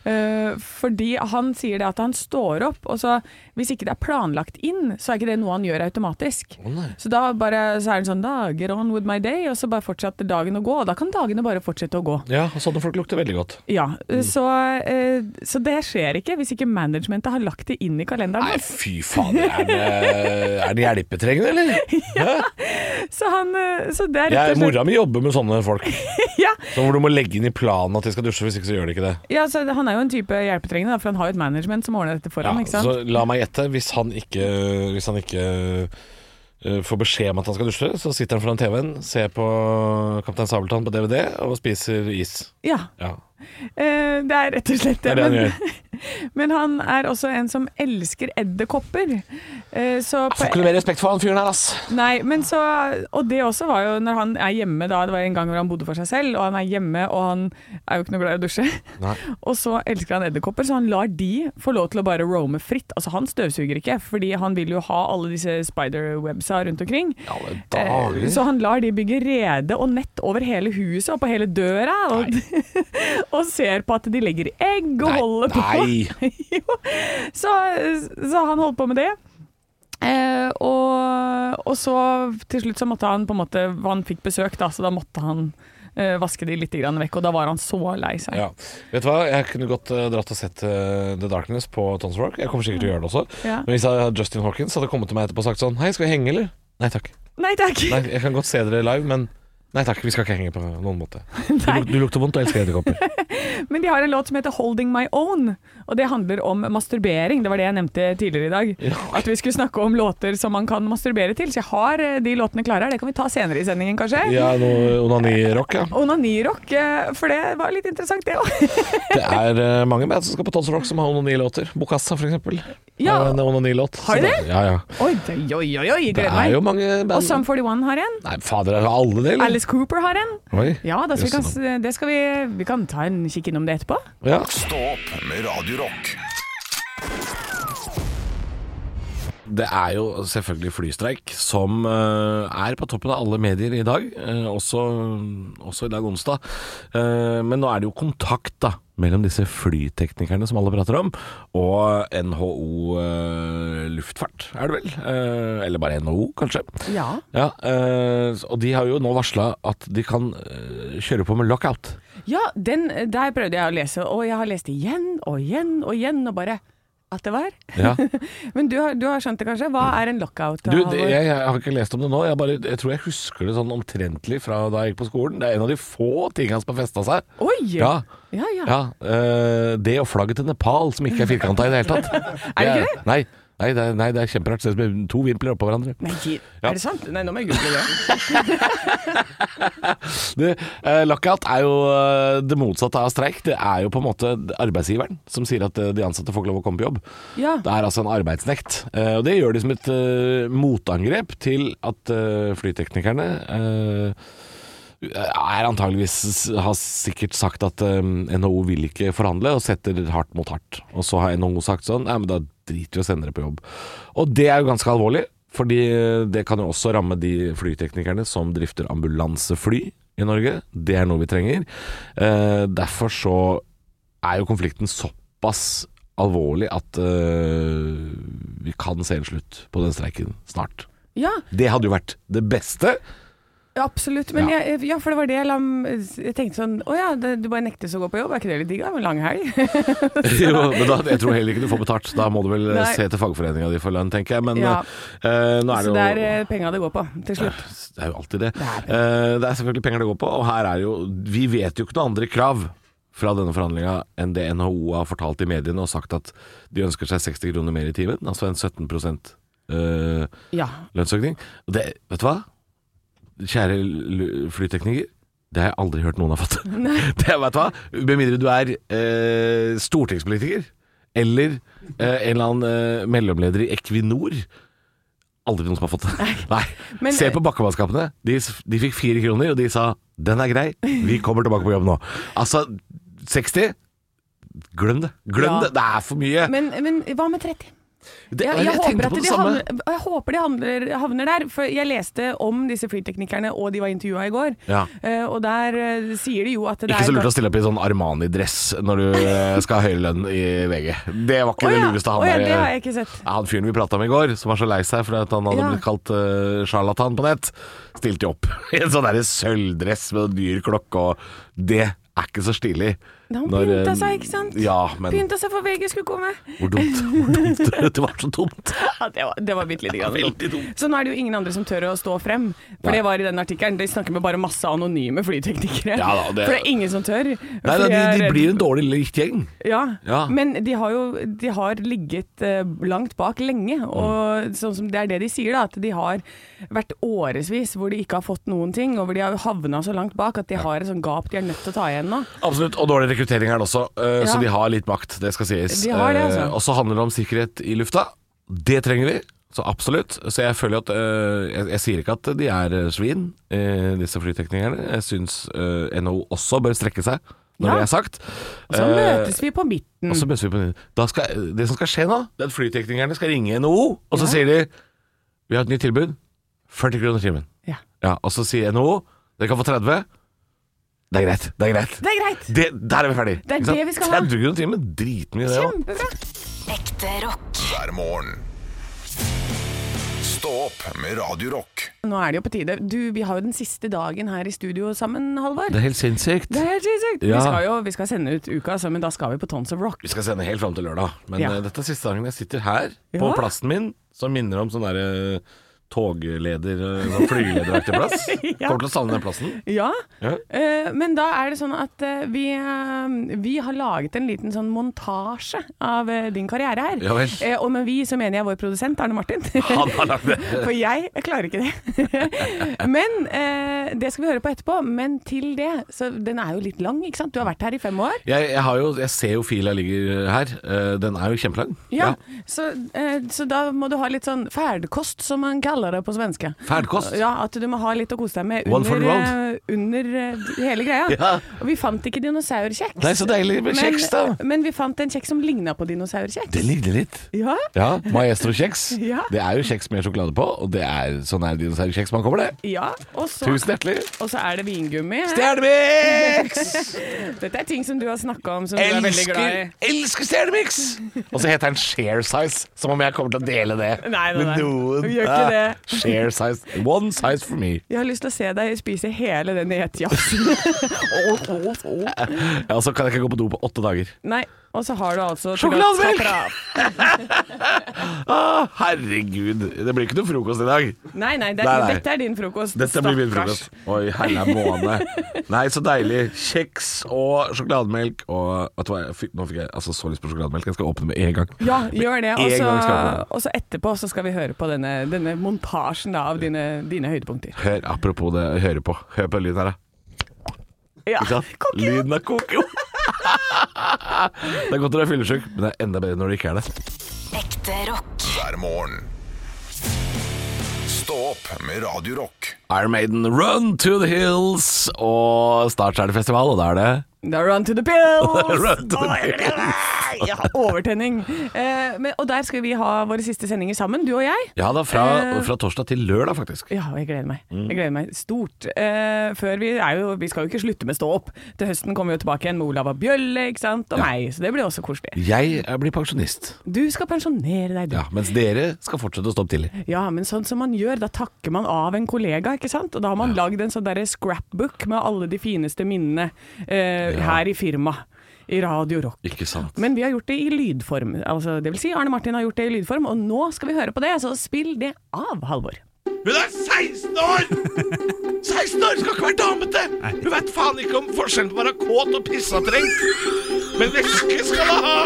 Eh, fordi han sier det at han står opp, og så hvis ikke det er planlagt inn, så er ikke det noe han gjør automatisk. Så da bare, så er det sånn da, get on with my day, og så bare fortsetter dagen å gå. Og da kan dagene bare fortsette å gå.
Ja, og sånne folk lukter veldig godt.
Ja,
Mm.
så, eh, så det skjer ikke hvis ikke managementet har lagt det inn i kalenderen.
Nei, fy fader. Er det, er det hjelpetrengende, eller?
Så, han, eh, så det er rett
Jeg,
og slett
mora mi jobber med sånne folk.
ja,
Sånn hvor du må legge inn i planen at de skal dusje, hvis ikke så gjør de ikke det.
ja, så Han er jo en type hjelpetrengende, da, for han har jo et management som ordner dette for
Ja,
ham. ikke sant?
så la meg gjette, hvis han ikke, hvis han ikke eh, får beskjed om at han skal dusje, så sitter han foran TV-en, ser på Kaptein Sabeltann på DVD og spiser is.
Ja,
Ja,
eh, det er rett og slett
det
det.
er det han
Men,
gjør.
men han er også en som elsker edderkopper. Eh, Så på,
Får ikke noe mer respekt for han fyren her, ass.
Nei, men så Og det også var jo når han er hjemme da, det var en gang hvor han bodde for seg selv, og han er hjemme, og han er jo ikke noe glad i å dusje.
Nei.
Og så elsker han edderkopper, så han lar de få lov til å bare roame fritt. Altså, han støvsuger ikke, fordi han vil jo ha alle disse spiderwebsa rundt omkring.
I alle
Eh, Så
dager.
han lar de bygge rede og nett over hele huset og på hele døra, og, og ser på at de legger egg og holder Eh, på.
Nei.
Jo. så, så han holdt på med det. Eh, og, og så til slutt så måtte han på en måte Han fikk besøk, da, så da måtte han eh, vaske de litt grann vekk. Og da var han så lei seg.
Ja. Vet du hva, jeg kunne godt eh, dratt og sett eh, The Darkness på Tons Rock. Jeg kommer sikkert til å gjøre det også.
Ja.
Men hvis jeg, hadde Justin Hawkins hadde kommet til meg etterpå og sagt sånn Hei, skal vi henge, eller? Nei takk.
Nei takk!
Nei, jeg kan godt se dere live, men Nei takk, vi skal ikke henge på noen måte. Du,
Nei.
du lukter vondt og elsker edderkopper.
Men de har en låt som heter 'Holding My Own', og det handler om masturbering. Det var det jeg nevnte tidligere i dag. At vi skulle snakke om låter som man kan masturbere til. Så jeg har eh, de låtene klare her. Det kan vi ta senere i sendingen, kanskje.
Ja, noe onanirock, ja.
Onanirock, eh, for det var litt interessant, det òg.
Det er eh, mange band som skal på Tons Rock som har onanilåter. Bokassa, for eksempel.
Ja.
Har en onanilåt.
Har de
Så
det?
Ja, ja.
Oi, oi, oi, oi,
Det
gleder
er jo
meg.
mange
Og
band
Sum 41 har en.
Nei, fader, er det alle det, eller?
Alice Cooper har en.
Oi.
Ja, da, så vi,
Jøsse
kan, s- det skal vi, vi kan ta en kikk innom det etterpå.
navn. ja.
Stå opp med Radio Rock.
Det er jo selvfølgelig flystreik som eh, er på toppen av alle medier i dag, eh, også, også i dag onsdag. Eh, men nå er det jo kontakt da, mellom disse flyteknikerne som alle prater om, og NHO eh, luftfart, er det vel? Eh, eller bare NHO, kanskje.
Ja.
Ja, eh, og de har jo nå varsla at de kan eh, kjøre på med lockout.
Ja, den, der prøvde jeg å lese, og jeg har lest igjen og igjen og igjen, og bare at det var.
Ja.
Men du har, du har skjønt det kanskje? Hva er en lockout?
Du,
Halvor?
det, jeg, jeg har ikke lest om det nå. Jeg, bare, jeg tror jeg husker det sånn omtrentlig fra da jeg gikk på skolen. Det er en av de få tingene som har festa seg.
Oi!
Ja,
ja. ja.
ja eh, Det og flagget til Nepal, som ikke er firkanta i det hele tatt.
Er det ikke
det? Nei, nei, det, er- nei, det er kjemperart. Ser ut som to vimpler oppå hverandre.
Nei, gi-
Ja.
er det sant? Nei, nå må jeg google det.
Det, eh, lockout er jo eh, det motsatte av streik. Det er jo på en måte arbeidsgiveren som sier at eh, de ansatte får ikke lov å komme på jobb.
Ja.
Det er altså en arbeidsnekt. Eh, og Det gjør de som et eh, motangrep til at eh, flyteknikerne eh, er antageligvis har sikkert sagt at eh, NHO vil ikke forhandle og setter hardt mot hardt. Og så har NHO sagt sånn Nei, men da driter vi og sender det på jobb. Og det er jo ganske alvorlig, fordi eh, det kan jo også ramme de flyteknikerne som drifter ambulansefly i Norge. Det er noe vi trenger. Eh, derfor så er jo konflikten såpass alvorlig at eh, vi kan se en slutt på den streiken snart.
Ja,
Det hadde jo vært det beste.
Ja, Absolutt. Men
Ja.
Jeg, ja, for det var det jeg, la, jeg tenkte sånn Å ja, det, du bare nektes å gå på jobb, er ikke det litt digg? da? En lang helg?
jo, men da, jeg tror heller ikke du får betalt. Da må du vel eh,
Nei.
se til fagforeninga di for lønn, tenker jeg. Men
Ja.
eh, nå er det
Så
jo
det er eh, penga det går på, til slutt.
Det er jo alltid det.
Det er det.
Eh, Det er selvfølgelig penger det går på, og her er jo Vi vet jo ikke noen andre krav fra denne forhandlinga enn det NHO har fortalt i mediene og sagt at de ønsker seg 60 kroner mer i timen, altså en 17 eh,
Ja.
lønnsøkning. Og det, vet du hva? Kjære l- flytekniker. Det har jeg aldri hørt noen har fått. Det, er, vet du hva? Med mindre du er eh, stortingspolitiker eller eh, en eller annen eh, mellomleder i Equinor. Aldri noen som har fått det. Nei.
Men-
Se på bakkemannskapene. De, s- de fikk fire kroner, og de sa 'den er grei, vi kommer tilbake på jobb nå'. Altså, 60 Glem det. Glem
Ja.
det. Det er for mye.
Men, men hva med 30?
Det-
Jeg, jeg, håper
tenkte
at
på det
de
samme.
havner, jeg håper de havner, havner der, for jeg leste om disse flyteknikerne, og de var intervjua i går.
Ja.
Eh, og der eh, sier de jo at det
Ikke
er
så lurt å stille opp i sånn Armani-dress når du eh, skal ha høyere lønn i VG. Det var ikke det lureste han
Å ja,
der eh,
det har jeg ikke sett.
Ja, Han fyren vi prata med i går, som var så lei seg fordi at han hadde
Ja.
blitt kalt eh, sjarlatan på nett, stilte jo opp i en sånn derre sølvdress med en dyr klokke, og det er ikke så stilig.
Da han
Når, eh,
pynta seg, ikke sant?
Ja, men
Pynta seg for VG skulle komme.
hvor dumt. Hvor dumt. Dette var så dumt.
Ja, det var, det var bitte lite grann dumt.
Veldig dumt.
Så nå er det jo ingen andre som tør å stå frem. For
Nei.
det var i den artikkelen. De snakker med bare masse anonyme flyteknikere.
Ja da, det-
For det er ingen som tør.
Nei,
For
da, de,
jeg er
de
redd-
blir en dårlig likt gjeng.
ja.
Ja.
men de har jo de har ligget eh, langt bak lenge.
Mm.
Og sånn som det er det de sier, da, at de har vært årevis hvor de ikke har fått noen ting, og hvor de har havna så langt bak at de har et sånt gap de er nødt til å ta igjen nå.
Absolutt, og dårlig rekruttering er det også, eh, så
Ja.
de har litt makt, det skal sies.
De har det, altså.
Eh, Og så handler det om sikkerhet i lufta. Det trenger vi, så absolutt. Så jeg føler at eh, jeg, jeg sier ikke at de er eh, svin, eh, disse flyteknikerne. Jeg syns eh, NHO også bør strekke seg, når
Ja.
det er sagt.
Og så
Eh,
møtes vi på midten.
og så møtes vi på den. Da skal, det som skal skje nå, det er at flyteknikerne skal ringe NHO, og så sier de Vi har et nytt tilbud. 40 kroner timen.
Ja.
og så sier NHO dere kan få 30. Det er greit. Det er greit.
Det er greit!
Det, der er vi ferdig.
Det er
Ikke sant?
det vi skal ha.
30 kroner timen, dritmye det òg.
Kjempebra!
Ekte rock.
hver morgen. Stå opp med Radio Rock.
Nå er det jo på tide. Du, vi har jo den siste dagen her i studio sammen, Halvor.
Det er helt sinnssykt.
Det er helt sinnssykt.
Ja.
Vi skal jo vi skal sende ut uka, så, men da skal vi på Tons of Rock.
Vi skal sende helt fram til lørdag, men
Ja.
eh, dette er siste dagen jeg sitter her, på
Ja.
plassen min, som minner om sånn derre togleder, eh, sånn flygelederaktig plass.
Ja.
Kommer til å savne den plassen.
Ja,
Ja.
eh, men da er det sånn at eh, vi, eh, vi har laget en liten sånn montasje av eh, din karriere her.
Ja vel.
Eh, og med vi så mener jeg vår produsent Arne Martin.
Han har lagd det.
For jeg klarer ikke det. men eh, det skal vi høre på etterpå. Men til det, så den er jo litt lang, ikke sant? Du har vært her i fem år.
Jeg, jeg, har jo, jeg ser jo fila ligger her. Eh, Den er jo kjempelang.
Ja, Så, eh, så da må du ha litt sånn ferdkost, som man kaller det på svenske.
Ferdkost?
Ja, At du må ha litt å kose deg med
One for
under,
the road.
eh, under eh, hele greia.
Ja.
Og vi fant ikke dinosaurkjeks.
Nei, så deilig med
Men-
kjeks, da.
Men vi fant en kjeks som ligna på dinosaurkjeks.
Det ligner litt.
Ja.
Ja, Maestro-kjeks.
Ja.
Det er jo kjeks med sjokolade på, og det er sånn er dinosaurkjeks man kommer, det.
ja. Og så,
Tusen hjertelig.
og så er det vingummi.
Stjernemix!
Dette er ting som du har snakka om som du er veldig glad i.
Elsker, elsker Stjernemix! Og så heter den Share Size, som om jeg kommer til å dele det
Nei, nei,
med
nei.
noen.
Du gjør ikke
Ah,
det.
Share Size. One size for me.
Jeg har lyst til å se deg spise hele den etjaksen.
Ja, så kan jeg ikke gå på do på åtte dager.
Nei. Og så har du altså
Sjokolademelk!
Slapper av.
Ah, herregud, det blir ikke noe frokost i dag.
Nei, nei, det er,
Nei, nei.
dette er din frokost.
Dette blir min
Stakkars.
frokost. Oi, hella måne. Nei, så deilig. Kjeks og sjokolademelk og Vet du hva, jeg fikk, nå fikk jeg altså, så lyst på sjokolademelk. Jeg skal åpne med en gang.
Ja, gjør det. Og
en gang skal jeg
så-
på.
Og så etterpå så skal vi høre på denne, denne montasjen da, av dine, dine høydepunkter.
Hør, apropos det, høre på. Hør på lyden her, da.
Ja.
Ikke sant?
Kokk.
Lyden av koko. det er godt når du er fyllesyk, men det er enda bedre når du ikke er det.
Ekte rock.
hver morgen. Stå opp med Radio Rock.
Iron Maiden, Run to the Hills! Og snart er det festival, og da er det
Da run to the pills!
Run to the Hills.
Nei, jeg har overtenning. Eh, men, og der skal vi ha våre siste sendinger sammen, du og jeg.
Ja da, fra,
Eh.
fra torsdag til lørdag, faktisk.
Ja, jeg gleder meg. Jeg gleder meg stort. Eh, før vi, er jo, vi skal jo ikke slutte med stå opp. Til høsten kommer vi jo tilbake igjen med Olav og Bjølle ikke sant? og meg, så det blir også koselig.
Jeg eh, blir pensjonist.
Du skal pensjonere deg, du.
Ja, mens dere skal fortsette å stå opp tidlig.
Ja, men sånn som man gjør, da takker man av en kollega, ikke sant? Og da har man lagd en sånn derre scrapbook med alle de fineste minnene eh, her i firmaet. I Radio Rock.
Ikke sant.
Men vi har gjort det i lydform. Altså, det vil si, Arne Martin har gjort det i lydform, og nå skal vi høre på det, så spill det av, Halvor.
Hun er 16 år! 16 år skal ikke være damete! Hun veit faen ikke om forskjellen på å være kåt og pissetrengt. Men væske skal hun ha!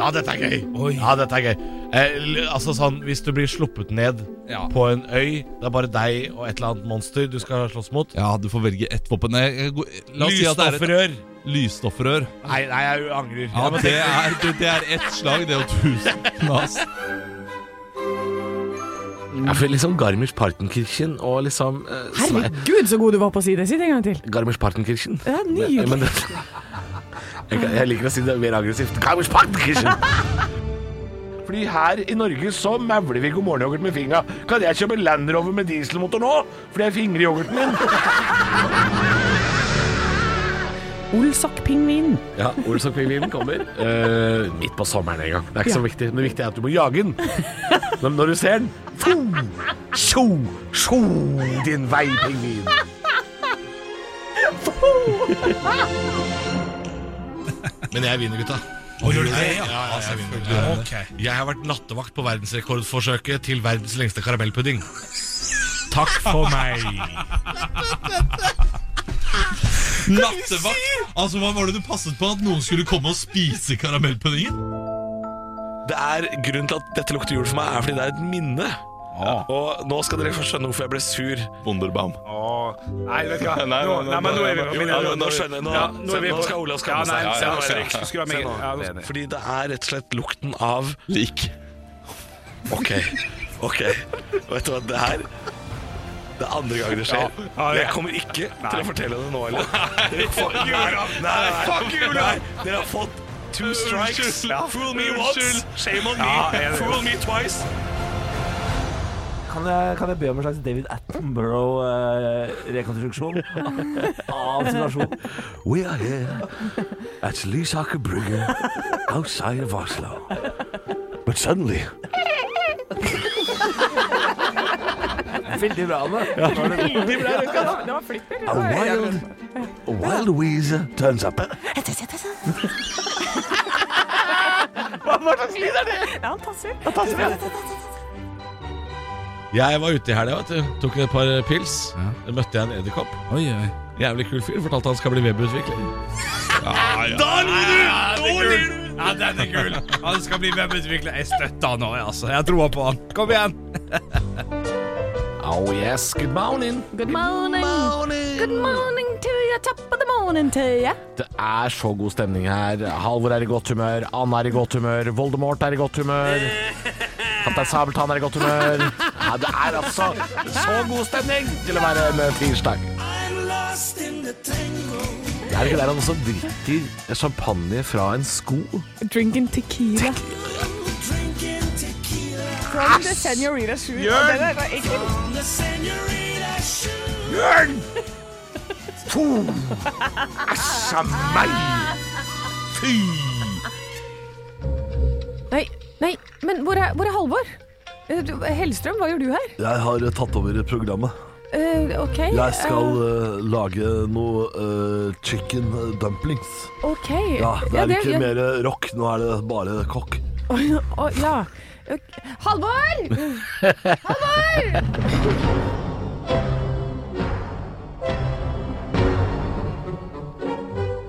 Ja, dette er gøy. Ja, dette er gøy. Eh, l- altså sånn, Hvis du blir sluppet ned på en øy, det er bare deg og et eller annet monster du skal slåss mot
Ja, du får velge ett våpen. Nei, jeg går- La oss si at det er et
Lysstoffrør!
lysstoffrør.
Nei, nei, jeg angrer.
Ja, men det er, det, det er ett slag, det er jo tusen knas.
Ja, for liksom Garmisch-Partenkirchen og liksom eh, Sve-
Herregud, så god du var på å si det. Si det en gang til.
Garmisch-Partenkirchen.
Ja, nydelig.
Men- men det- jeg, kan- jeg liker å si det mer aggressivt. Garmisch-Partenkirchen! Fordi her i Norge så mævler vi god morgen-yoghurt med fingra. Kan jeg kjøpe Land Rover med dieselmotor nå? Fordi jeg fingrer yoghurten min.
Olsok-pingvin.
Ja, Olsok-pingvinen kommer eh, midt på sommeren en gang. Det er ikke så viktig. Det viktige er at du må jage den. Men når du ser den Fo! Tjo! Tjo! Din vei, pingvin.
Men jeg vinner, gutta. gjør du det? Ja, ja, ja, jeg, vinner. jeg har vært nattevakt på verdensrekordforsøket til verdens lengste karamellpudding. Takk for meg.
Nattevakt! Altså, Hva var det du passet på? At noen skulle komme og spise karamellpuddingen?
Det er Grunnen til at dette lukter jul for meg, er fordi det er et minne. Og nå skal dere få skjønne hvorfor jeg ble sur.
Wunderbaum.
Nei, vet du hva. Nå, nei, men nå er vi
Ja, nå- nå skjønner jeg. Nå,
Ja, nå er vi
nå skal Olav skamme
Ja, nei,
seg.
se nå, Henrik. Du skulle være med. Ja, nå-
Fordi det er rett og slett lukten av
Lik.
Ok, ok Vet du hva, det her Det er andre gang det skjer
ja, ja.
Jeg kommer ikke til å fortelle det nå eller? Dere får- Nei, nei, nei. Nei, Dere har fått two strikes Fool me once, shame on me Fool me twice
Kan jeg, kan jeg be om en slags David eh, Attenborough-rekonstruksjon av situasjonen?
We are here at Lysaker Brygge outside of Oslo. But suddenly
Veldig bra, Anne.
Det var flipper.
a wild, a wild Weezer turns up.
Ja, han tasser.
Jeg var ute i helga, vet du. Tok et par pils. Da møtte jeg en edderkopp.
Oi, oi.
Jævlig kul fyr. Fortalte han skal bli webutvikler.
Ja, den er kul. Han skal bli webutvikler. Jeg støtter han nå, altså. Jeg tror på han. Kom igjen.
Oh yes, good morning.
Good morning. Good morning to you. Top of the morning to you.
Det er så god stemning her. Halvor er i godt humør, Anne er i godt humør, Voldemort er i godt humør. Kaptein Sabeltann er i godt humør. Ja, det er altså så god stemning til å være en tirsdag. Det er ikke der han også drikker champagne fra en sko.
Drinking tequila. From the senorita shoot. Jørn!
Æsja meg! Fy!
Nei, nei, men hvor er, hvor er Halvor? Eh, du- Hellstrøm, hva gjør du her?
Jeg har tatt over programmet.
Eh, ok.
Jeg skal eh, lage noe eh, chicken dumplings.
eh, ok.
Ja, Det er ikke
ja.
mer rock, nå er det bare kokk.
Å, ja. Ok. Halvor!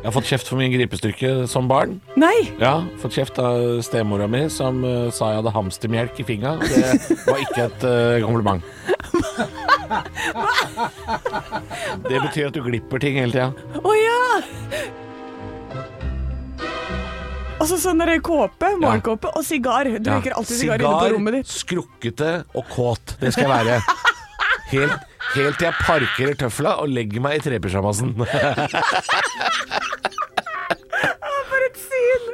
Jeg har fått kjeft for min gripestyrke som barn.
Nei!
Ja, Fått kjeft av stemora mi, som eh, sa jeg hadde hamstermelk i fingra. Det var ikke et eh, kompliment. Det betyr at du glipper ting hele tida.
Å ja! Og så sånn derre kåpe, morgenkåpe og sigar. Du røyker alltid sigar inne på rommet ditt.
skrukkete og kåt. Det skal jeg være. Helt, helt til jeg parkerer tøfla og legger meg i trepysjamasen.
For et syn!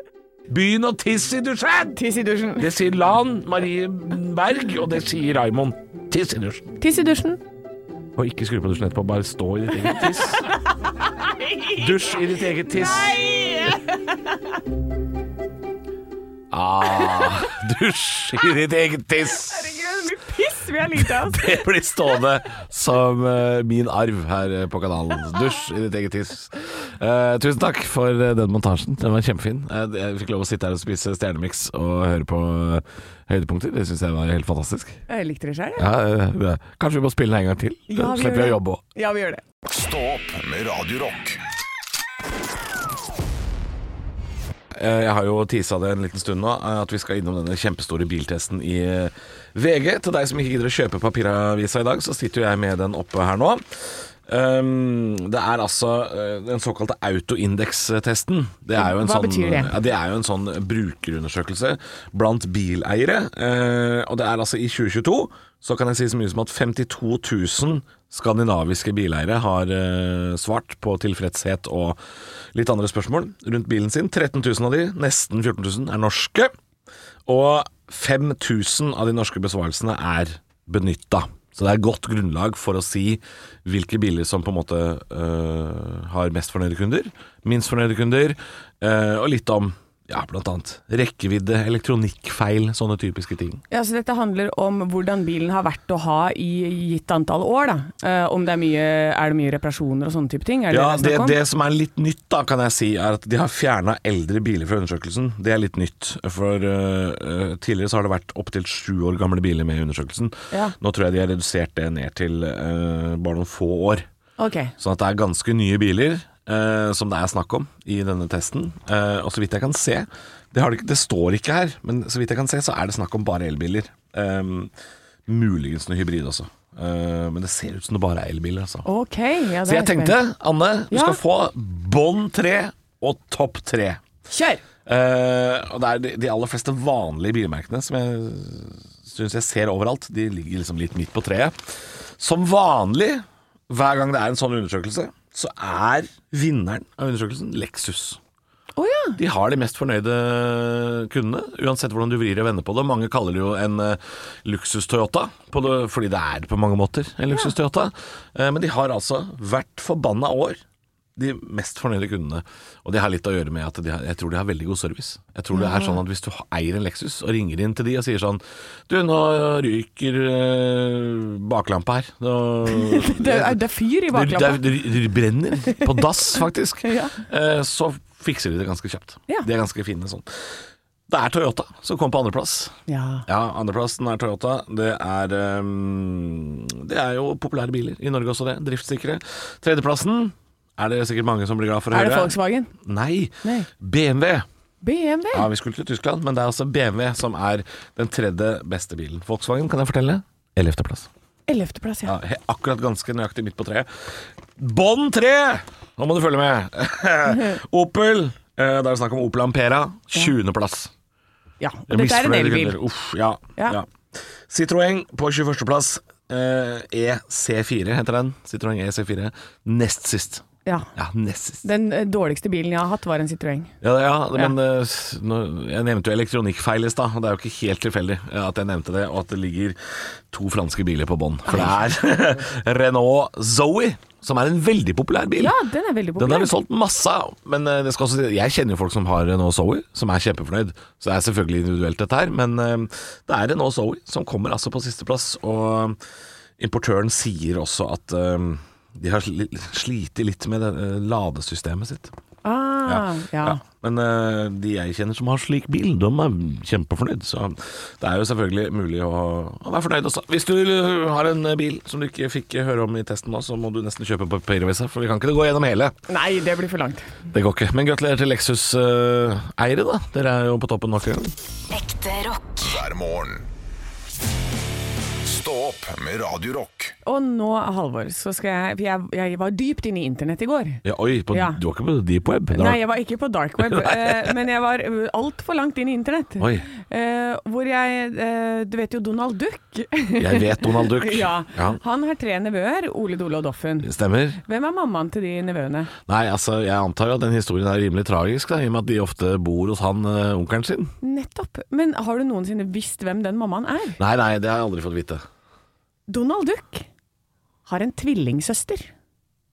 Begynn å tisse i dusjen!
Tiss i dusjen.
Det sier Lan Marie Berg, og det sier Raimond. Tiss i dusjen.
Tiss i dusjen.
Og ikke skru på dusjen etterpå, bare stå i ditt eget tiss. Dusj i ditt eget tiss. Ah, dusj i ditt eget tiss.
Herregud, så mye piss vi har litt av.
Det blir stående som eh, min arv her eh, på kanalen. Dusj i ditt eget tiss. Eh, tusen takk for eh, den montasjen. Den var kjempefin. Eh, jeg fikk lov å sitte her og spise Stjernemix og høre på eh, høydepunkter. Det syns jeg var helt fantastisk.
Jeg likte det sjøl, jeg.
Ja, eh, eh, kanskje vi må spille den en gang til?
Ja, vi
Slipper vi å
gjør det.
jobbe òg.
Ja, vi gjør det.
Stå opp med Radio Rock.
Eh, Jeg har jo tisa det en liten stund nå, eh, at vi skal innom denne kjempestore biltesten i eh, VG. Til deg som ikke gidder å kjøpe papiravisa i dag, så sitter jo jeg med den oppe her nå. Um, det er altså eh, den såkalte autoindekstesten. Det er jo en
Hva
sånn,
betyr det?
Ja, det er jo en sånn brukerundersøkelse blant bileiere. Eh, og det er altså i 2022 så kan jeg si så mye som at 52 000 skandinaviske bileiere har eh, svart på tilfredshet og litt andre spørsmål rundt bilen sin. 13 000 av de, nesten 14 000, er norske. Og 5000 av de norske besvarelsene er benytta. Så det er godt grunnlag for å si hvilke biler som på en måte øh, har mest fornøyde kunder, minst fornøyde kunder, øh, og litt om ja, blant annet rekkevidde, elektronikkfeil, sånne typiske ting.
Ja, så Dette handler om hvordan bilen har vært å ha i gitt antall år. da. Eh, om det er mye, er det mye reparasjoner og sånne type ting? Er det
Ja,
det,
det,
det, er snakk om?
det som er litt nytt, da, kan jeg si, er at de har fjerna eldre biler fra undersøkelsen. Det er litt nytt. For øh, øh, tidligere så har det vært opptil sju år gamle biler med i undersøkelsen.
Ja.
Nå tror jeg de har redusert det ned til øh, bare noen få år.
Ok.
Sånn at det er ganske nye biler eh, som det er snakk om i denne testen. Eh, og så vidt jeg kan se det, har det, ikke, det står ikke her, men så vidt jeg kan se, så er det snakk om bare elbiler. Eh, muligens noe hybrid også. Eh, men det ser ut som det bare er elbiler, altså.
Ok, ja, det
Så jeg
er
tenkte, Anne, du
Ja.
skal få bånd tre og topp tre.
Kjør!
Eh, og det er de, de aller fleste vanlige bilmerkene som jeg syns jeg ser overalt. De ligger liksom litt midt på treet. Som vanlig, hver gang det er en sånn undersøkelse, så er vinneren av undersøkelsen Lexus.
Å ja.
De har de mest fornøyde kundene, uansett hvordan du vrir og vender på det. Mange kaller det jo en eh, luksus-Toyota, på det- fordi det er på mange måter en luksus-Toyota. Eh, men de har altså hvert forbanna år de mest fornøyde kundene. Og det har litt å gjøre med at de har, jeg tror de har veldig god service. Jeg tror det er sånn at Hvis du eier en Lexus og ringer inn til de og sier sånn Du, nå ryker eh, baklampa her. Nå,
Det er, det er fyr i
det,
baklampa.
det, det, det brenner på dass, faktisk.
Ja.
Eh, Så fikser de det ganske kjapt.
Ja.
De er ganske fine sånn. Det er Toyota som kom på andreplass.
Ja.
Ja, andreplassen er Toyota. Det er, ehm, det er jo populære biler i Norge også, det. Driftssikre. Tredjeplassen er det sikkert mange som blir glad for å
Er det
høre.
Volkswagen?
Nei.
Nei.
BMW.
BMW?
Ja, Vi skulle til Tyskland, men det er altså BMW som er den tredje beste bilen. Volkswagen, kan jeg fortelle, ellevteplass.
Ellevteplass, ja.
Ja, he- akkurat ganske nøyaktig midt på treet. Bånd tre! Nå må du følge med. Opel. eh, Da er det snakk om Opel Ampera. 20.-plass.
ja. Og dette er en elbil.
Uff, ja,
Ja.
ja. Citroën på 21.-plass. Eh, EC4 heter den. Citroën EC4. Nest sist.
Ja.
Ja, nest sist.
Den eh, dårligste bilen jeg har hatt, var en Citroën.
Ja, ja men eh, s- nå- jeg nevnte jo elektronikkfeil i stad, og det er jo ikke helt tilfeldig eh, at jeg nevnte det, og at det ligger to franske biler på bånn. For det er Renault Zoe, som er en veldig populær bil.
Ja, den er veldig
Den har
populær.
vi solgt masse av, men eh, det skal også, si- jeg kjenner jo folk som har Renault Zoe, som er kjempefornøyd. Så det er selvfølgelig individuelt dette her, men eh, det er Renault Zoe som kommer altså på sisteplass. Og importøren sier også at eh, de har sli- slitt litt med det, eh, ladesystemet sitt.
Ah, ja.
Ja. Men eh, de jeg kjenner som har slik bil, de er kjempefornøyd. Så det er jo selvfølgelig mulig å, å være fornøyd også. Hvis du eh, har en eh, bil som du ikke fikk eh, høre om i testen nå, så må du nesten kjøpe på papiravisa, for vi kan ikke gå gjennom hele.
Nei, det blir for langt.
Det går ikke. Men gratulerer til Lexus-eiere, da. Dere er jo på toppen nok en gang.
Ekte rock.
hver morgen. Stå opp med Radio Rock.
Og nå, Halvor, så skal jeg For jeg, jeg var dypt inne i internett i går.
Ja, oi, på,
Ja.
du var ikke på deep web?
Nei, jeg var ikke på dark web, eh, men jeg var altfor langt inn i internett.
Oi.
Eh, hvor jeg eh, Du vet jo Donald Duck?
Jeg vet Donald Duck.
ja.
Ja.
Han har tre nevøer, Ole, Dole og Doffen.
Stemmer.
Hvem er mammaen til de nevøene?
Nei, altså, jeg antar jo at den historien er rimelig tragisk, da, i og med at de ofte bor hos han eh, onkelen sin.
Nettopp. Men har du noensinne visst hvem den mammaen er?
Nei, nei, det har jeg aldri fått vite.
Donald Duck har en tvillingsøster.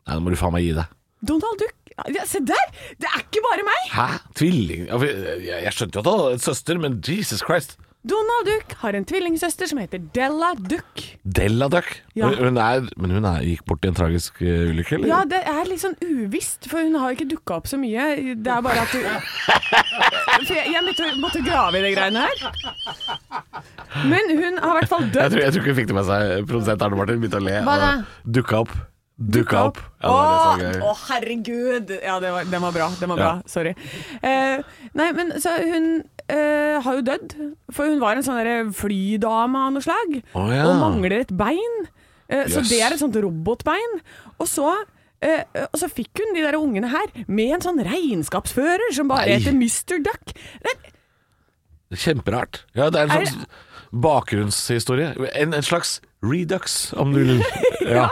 Nei, nå må du faen meg gi deg.
Donald Duck ja, Se der! Det er ikke bare meg!
Hæ? Tvilling? Ja, for Jeg, jeg skjønte jo at han hadde en søster, men Jesus Christ.
Donald Duck har en tvillingsøster som heter Della Duck.
Della Duck.
Ja.
Hun, hun er, men hun er, gikk bort i en tragisk eh, ulykke, eller?
Ja, det er litt sånn uvisst, for hun har jo ikke dukka opp så mye. Det er bare at du For jeg, jeg måtte, måtte grave i de greiene her. Men hun har i hvert fall
Jeg
dødd.
tror, jeg tror ikke hun fikk det med seg. Produsent Arne Martin begynte å le.
Hva da?
Dukka opp. Dukka opp. Ja, det
Å,
var det som var
å,
gøy.
herregud! Ja, det var, den var bra. Den var bra.
Ja.
Sorry. Eh, nei, men så hun eh, har jo dødd, for hun var en sånn derre flydame av noe slag.
Å, ja.
Og mangler et bein. Eh, Så
Jøss.
det er et sånt robotbein. Og så eh, og så fikk hun de der ungene her med en sånn regnskapsfører som bare
Nei.
heter Mr. Duck. Det,
Kjemperart. Ja, det er en
Er-
slags bakgrunnshistorie. En, en slags redux, om du vil. Ja.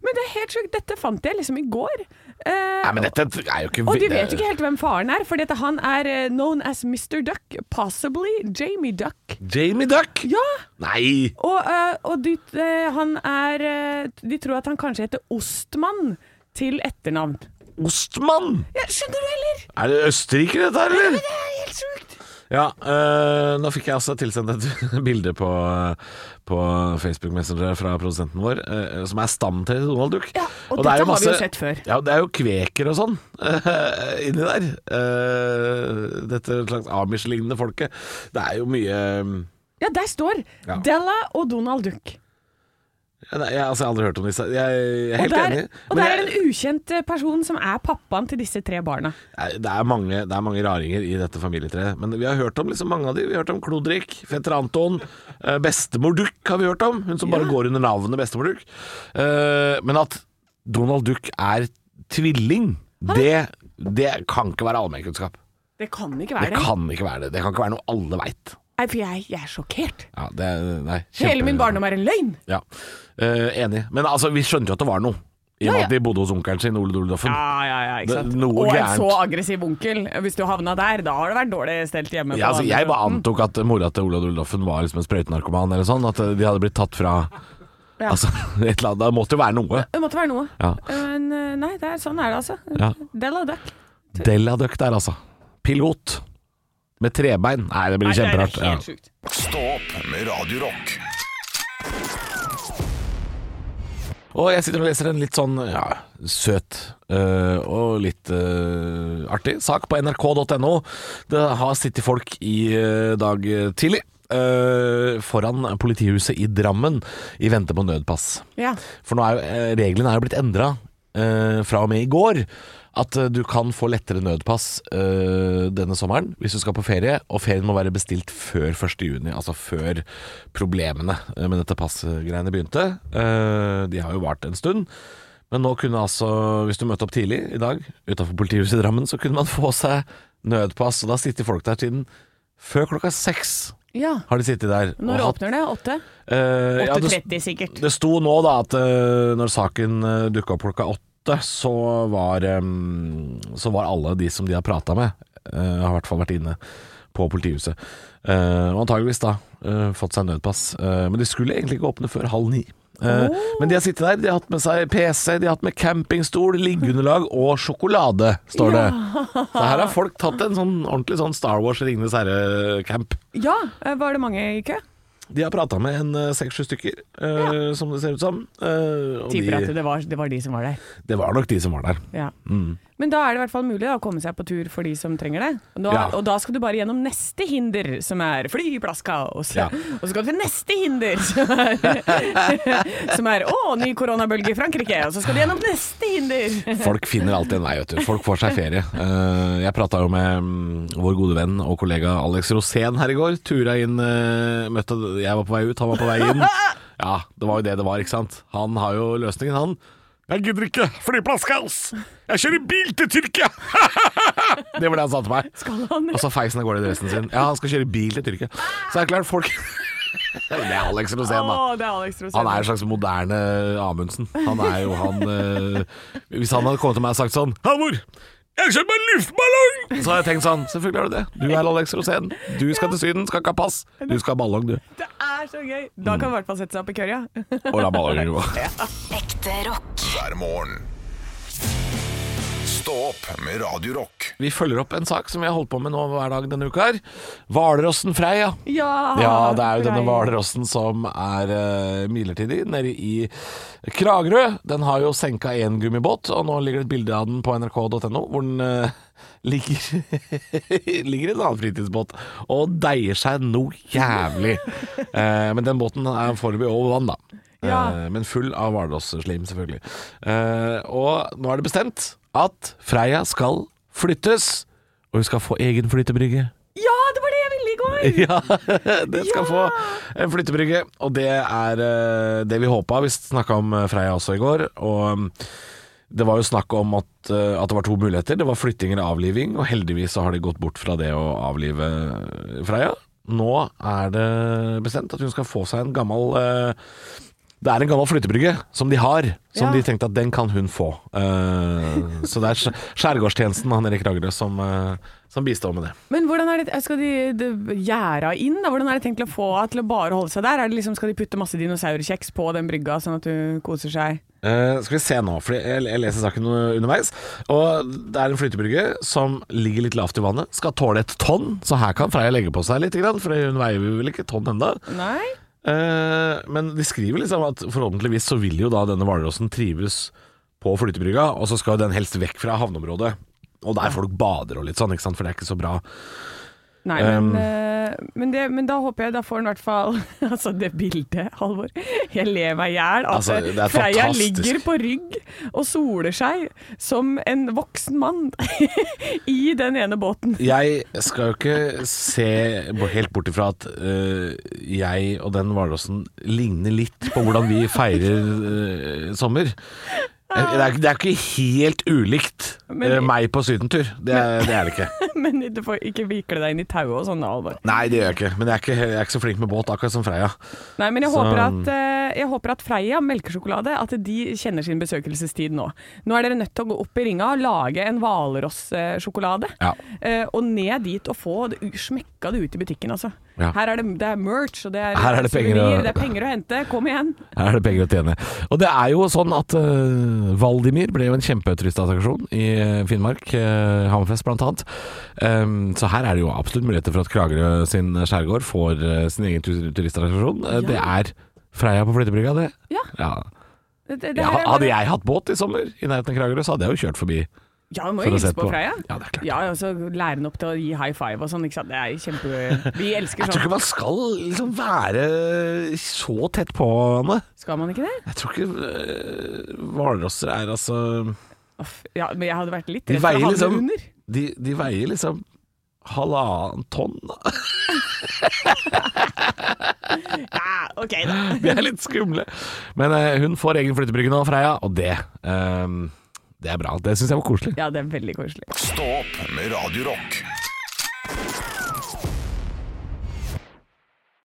men det er helt sjukt. Dette fant jeg liksom i går. Eh,
Nei, men dette er jo ikke
og du
det-
vet jo ikke helt hvem faren er, for han er eh, known as Mr. Duck, possibly Jamie Duck.
Jamie Duck?
Ja!
Nei!
Og, eh, og de, eh, han er eh, De tror at han kanskje heter Ostmann til etternavn.
Ostmann?
Ja, skjønner du, eller?
Er det Østerrike, dette her, eller?
Det er helt sjukt.
Ja, øh, nå fikk jeg altså tilsendt et bilde på, eh, på Facebook Messenger fra produsenten vår, øh, som er stammen til Donald Duck.
Ja,
det er
og dette har vi jo
masse-
sett før.
Ja, det er jo kveker og sånn øh, inni der. Øh, dette slags Amish-lignende folket. Det er jo mye øh,
Ja, der står
Ja.
Della og Donald Duck.
ja, nei, jeg, altså, jeg har aldri hørt om disse. Jeg, jeg er
Og
helt
der,
enig.
og
Men
der er
jeg-
det en ukjent eh, person som er pappaen til disse tre barna.
Nei, Det er, mange, det er mange raringer i dette familietreet. Men vi har hørt om liksom mange av de. Vi har hørt om Klodrik, fetter Anton, eh, bestemor Duck har vi hørt om. Hun som bare går under navnet bestemor Duck. Eh, men at Donald Duck er tvilling, det, det kan ikke være allmennkunnskap.
Det kan ikke
Det
være det.
kan ikke være det. Det kan ikke være noe alle veit.
Nei, for jeg, jeg er sjokkert.
Ja, det er- nei, kjempe-
Hele min barndom er en løgn.
Ja, Eh, Enig. Men altså, vi skjønte jo at det var noe. I og med
Ja, ja.
at de bodde hos onkelen sin, Ole Doldoffen.
ja, ja,
ikke sant? Det- noe
og en
gærent.
så aggressiv onkel. Hvis du havna der, da har det vært dårlig stelt hjemme. på
Ja, altså,
andre
jeg bare
fronten.
antok at mora til Olav Doldoffen var liksom en sprøytenarkoman eller sånn. At eh, de hadde blitt tatt fra
Ja.
Altså, et eller annet. Det måtte jo være noe.
Det måtte være noe.
Ja.
Men eh, nei, det er, sånn er det altså.
Ja.
Della Duck.
Della Duck der, altså. Pilot. Med trebein. Nei, det blir kjemperart. Ja.
sjukt.
Stå opp med Radio Rock.
Og jeg sitter og leser en litt sånn ja, søt øh, og litt øh, artig sak på nrk.no. Det har sittet folk i øh, dag tidlig øh, foran politihuset i Drammen i vente på nødpass.
Ja.
For nå er jo, eh, reglene er jo blitt endra eh, fra og med i går. At eh, du kan få lettere nødpass eh, denne sommeren hvis du skal på ferie. Og ferien må være bestilt før 1.6, altså før problemene eh, med dette passgreiene begynte. Eh, de har jo vart en stund. Men nå kunne altså, hvis du møtte opp tidlig i dag utafor politihuset i Drammen, så kunne man få seg nødpass. Og da sitter folk der siden før klokka seks.
ja.
Har de sittet der. og
Når
hatt-
åpner det? Åtte?
Eh, ja, det-
8.30 sikkert.
det sto nå da at eh, når saken uh, dukka opp klokka åtte, så var, eh, så var alle de som de har prata med, eh, har i hvert fall vært inne på politihuset. Eh, og antageligvis da eh, fått seg nødpass. Eh, men de skulle egentlig ikke åpne før halv ni. Eh, Men de har sittet der, de har hatt med seg PC, de har hatt med campingstol, liggeunderlag og sjokolade, står det. Så her har folk tatt en sånn ordentlig sånn Star Wars Ringenes herre-camp.
Ja, eh, var det mange i kø?
De har prata med en seks-sju stykker, eh, som det ser ut som. Eh, og
Tipper
de-
at det var, det var de som var der.
Det var nok de som var der.
Ja. Men da er det i hvert fall mulig da, å komme seg på tur for de som trenger det. Og, nå,
Ja.
og da skal du bare gjennom neste hinder, som er flyplasskaos.
Ja.
Og så skal du til neste hinder, som er, som er å, ny koronabølge i Frankrike. Og så skal du gjennom neste hinder.
Folk finner alltid en vei, vet du. Folk får seg ferie. Eh, jeg prata jo med mm, vår gode venn og kollega Alex Rosén her i går. Tura inn eh, Møtte Jeg var på vei ut, han var på vei inn. Ja, det var jo det det var, ikke sant. Han har jo løsningen, han. Jeg gidder ikke flyplasskaos! Jeg kjører bil til Tyrkia! det var det han sa til meg.
han?
Og så feis han av gårde i dressen sin. Ja, han skal kjøre bil til Tyrkia. Så er det klart, folk Det er Alex Rosén, da.
Å, det er Alex Rosén.
Han er en slags moderne Amundsen. Han er jo han eh, Hvis han hadde kommet til meg og sagt sånn Halvor, jeg kjøper meg en luftballong! Så hadde jeg tenkt sånn Selvfølgelig har du det. Du er Alex Rosén. Du skal til Syden, skal ikke ha pass. Du skal ha ballong, du.
Det er så gøy! Da
Mm.
kan du i hvert fall sette seg opp i kørja.
Og la ballongen gå.
Ekte rock.
hver morgen. Stå opp med Radio Rock.
Vi følger opp en sak som vi har holdt på med nå hver dag denne uka her. Hvalrossen Freia.
Ja,
Ja, det er jo denne
Freia.
hvalrossen som er eh, midlertidig nede i Kragerø. Den har jo senka én gummibåt, og nå ligger det et bilde av den på nrk.no hvor den eh, ligger, ligger i en annen fritidsbåt og deier seg noe jævlig. Eh, men den båten er foreløpig over vann, da.
Ja.
Eh, men full av hvalrosslim, selvfølgelig. Eh, og nå er det bestemt at Freia skal flyttes, og hun skal få egen flytebrygge.
Ja, det var det jeg ville i går!
Ja, den skal få en flyttebrygge. Og det er eh, det vi håpa. Vi snakka om eh, Freia også i går. Og mm, det var jo snakk om at, eh, at det var to muligheter. Det var flytting eller avliving, og heldigvis så har de gått bort fra det å avlive eh, Freia. Nå er det bestemt at hun skal få seg en gammel eh, det er en gammel flyttebrygge som de har, som
Ja.
de tenkte at den kan hun få. Eh, så det er skj- Skjærgårdstjenesten han Erik Ragerø som, eh, som bistår med det.
Men hvordan er det, skal de, de gjerda inn? da? Hvordan er det tenkt å få henne til å bare holde seg der? Er det liksom, skal de putte masse dinosaurkjeks på den brygga, sånn at hun koser seg?
Eh, skal vi se nå, for jeg, jeg leser saken underveis. Og Det er en flytebrygge som ligger litt lavt i vannet. Skal tåle et tonn, så her kan Freya legge på seg litt, grann, for hun veier vel ikke et tonn ennå.
Nei?
men de skriver liksom at forhåpentligvis så vil jo da denne hvalrossen trives på flytebrygga, og så skal den helst vekk fra havneområdet. Og der folk bader og litt sånn, ikke sant? for det er ikke så bra.
Nei, men,
Um.
eh, men, det, men da håper jeg da får han i hvert fall Altså, det bildet, Halvor. Jeg ler meg i hjel. Altså,
Altså, det er
Freya
fantastisk.
ligger på rygg og soler seg som en voksen mann i den ene båten.
Jeg skal jo ikke se bo- helt bort ifra at øh, jeg og den hvalrossen ligner litt på hvordan vi feirer øh, sommer. Eh, Det er, ikke- det er ikke helt ulikt
Men-
eh, meg på sydentur. Det, er- det er det ikke.
Men du får ikke vikle deg inn i tauet og sånn, da, Halvor.
Nei, det gjør jeg ikke. Men jeg er ikke, jeg er ikke så flink med båt, akkurat som Freya.
Nei, men jeg,
Så-
håper at, eh, jeg håper at Freia melkesjokolade At de kjenner sin besøkelsestid nå. Nå er dere nødt til å gå opp i ringa og lage en hvalrossjokolade.
Ja.
Eh, og ned dit og få det, smekka det ut i butikken, altså.
Ja.
Her er det, det er merch, og det er,
Her er det penger å-
souvenir, det er penger å hente. Kom igjen!
Her er det penger å tjene. Og det er jo sånn at eh, Valdimir ble jo en kjempeturistattraksjon i eh, Finnmark, uh, Hammerfest blant annet. Ehm, så her er det jo absolutt muligheter for at Kragerø sin skjærgård får eh, sin egen tur- turistattraksjon. Eh, Det er Freia på flytebrygga, det.
Ja. Det, det, det
Ja,
her er bare-
hadde jeg hatt båt i sommer i nærheten av Kragerø, så hadde jeg jo kjørt forbi.
Ja, du må
for å
jo hilse
sette
på,
på.
Freia.
Ja, det er klart.
Ja, og så lære henne opp til å gi high five og sånn. Ikke sant? Det er kjempe... Vi elsker
Jeg tror
sånn.
ikke man skal liksom være så tett på Anne.
Skal man ikke det?
Jeg tror ikke øh, hvalrosser er altså
Uff, ja, men jeg hadde vært litt
De
redd for å
veier
havne
liksom
under.
de, de veier liksom halvannen tonn. da.
Ja, Ah, ok, da.
De er litt skumle. Men eh, hun får egen flyttebrygge nå, Freya, og det eh, Det er bra. Det syns jeg var koselig.
Ja, det er veldig koselig.
Stå opp med Radio Rock.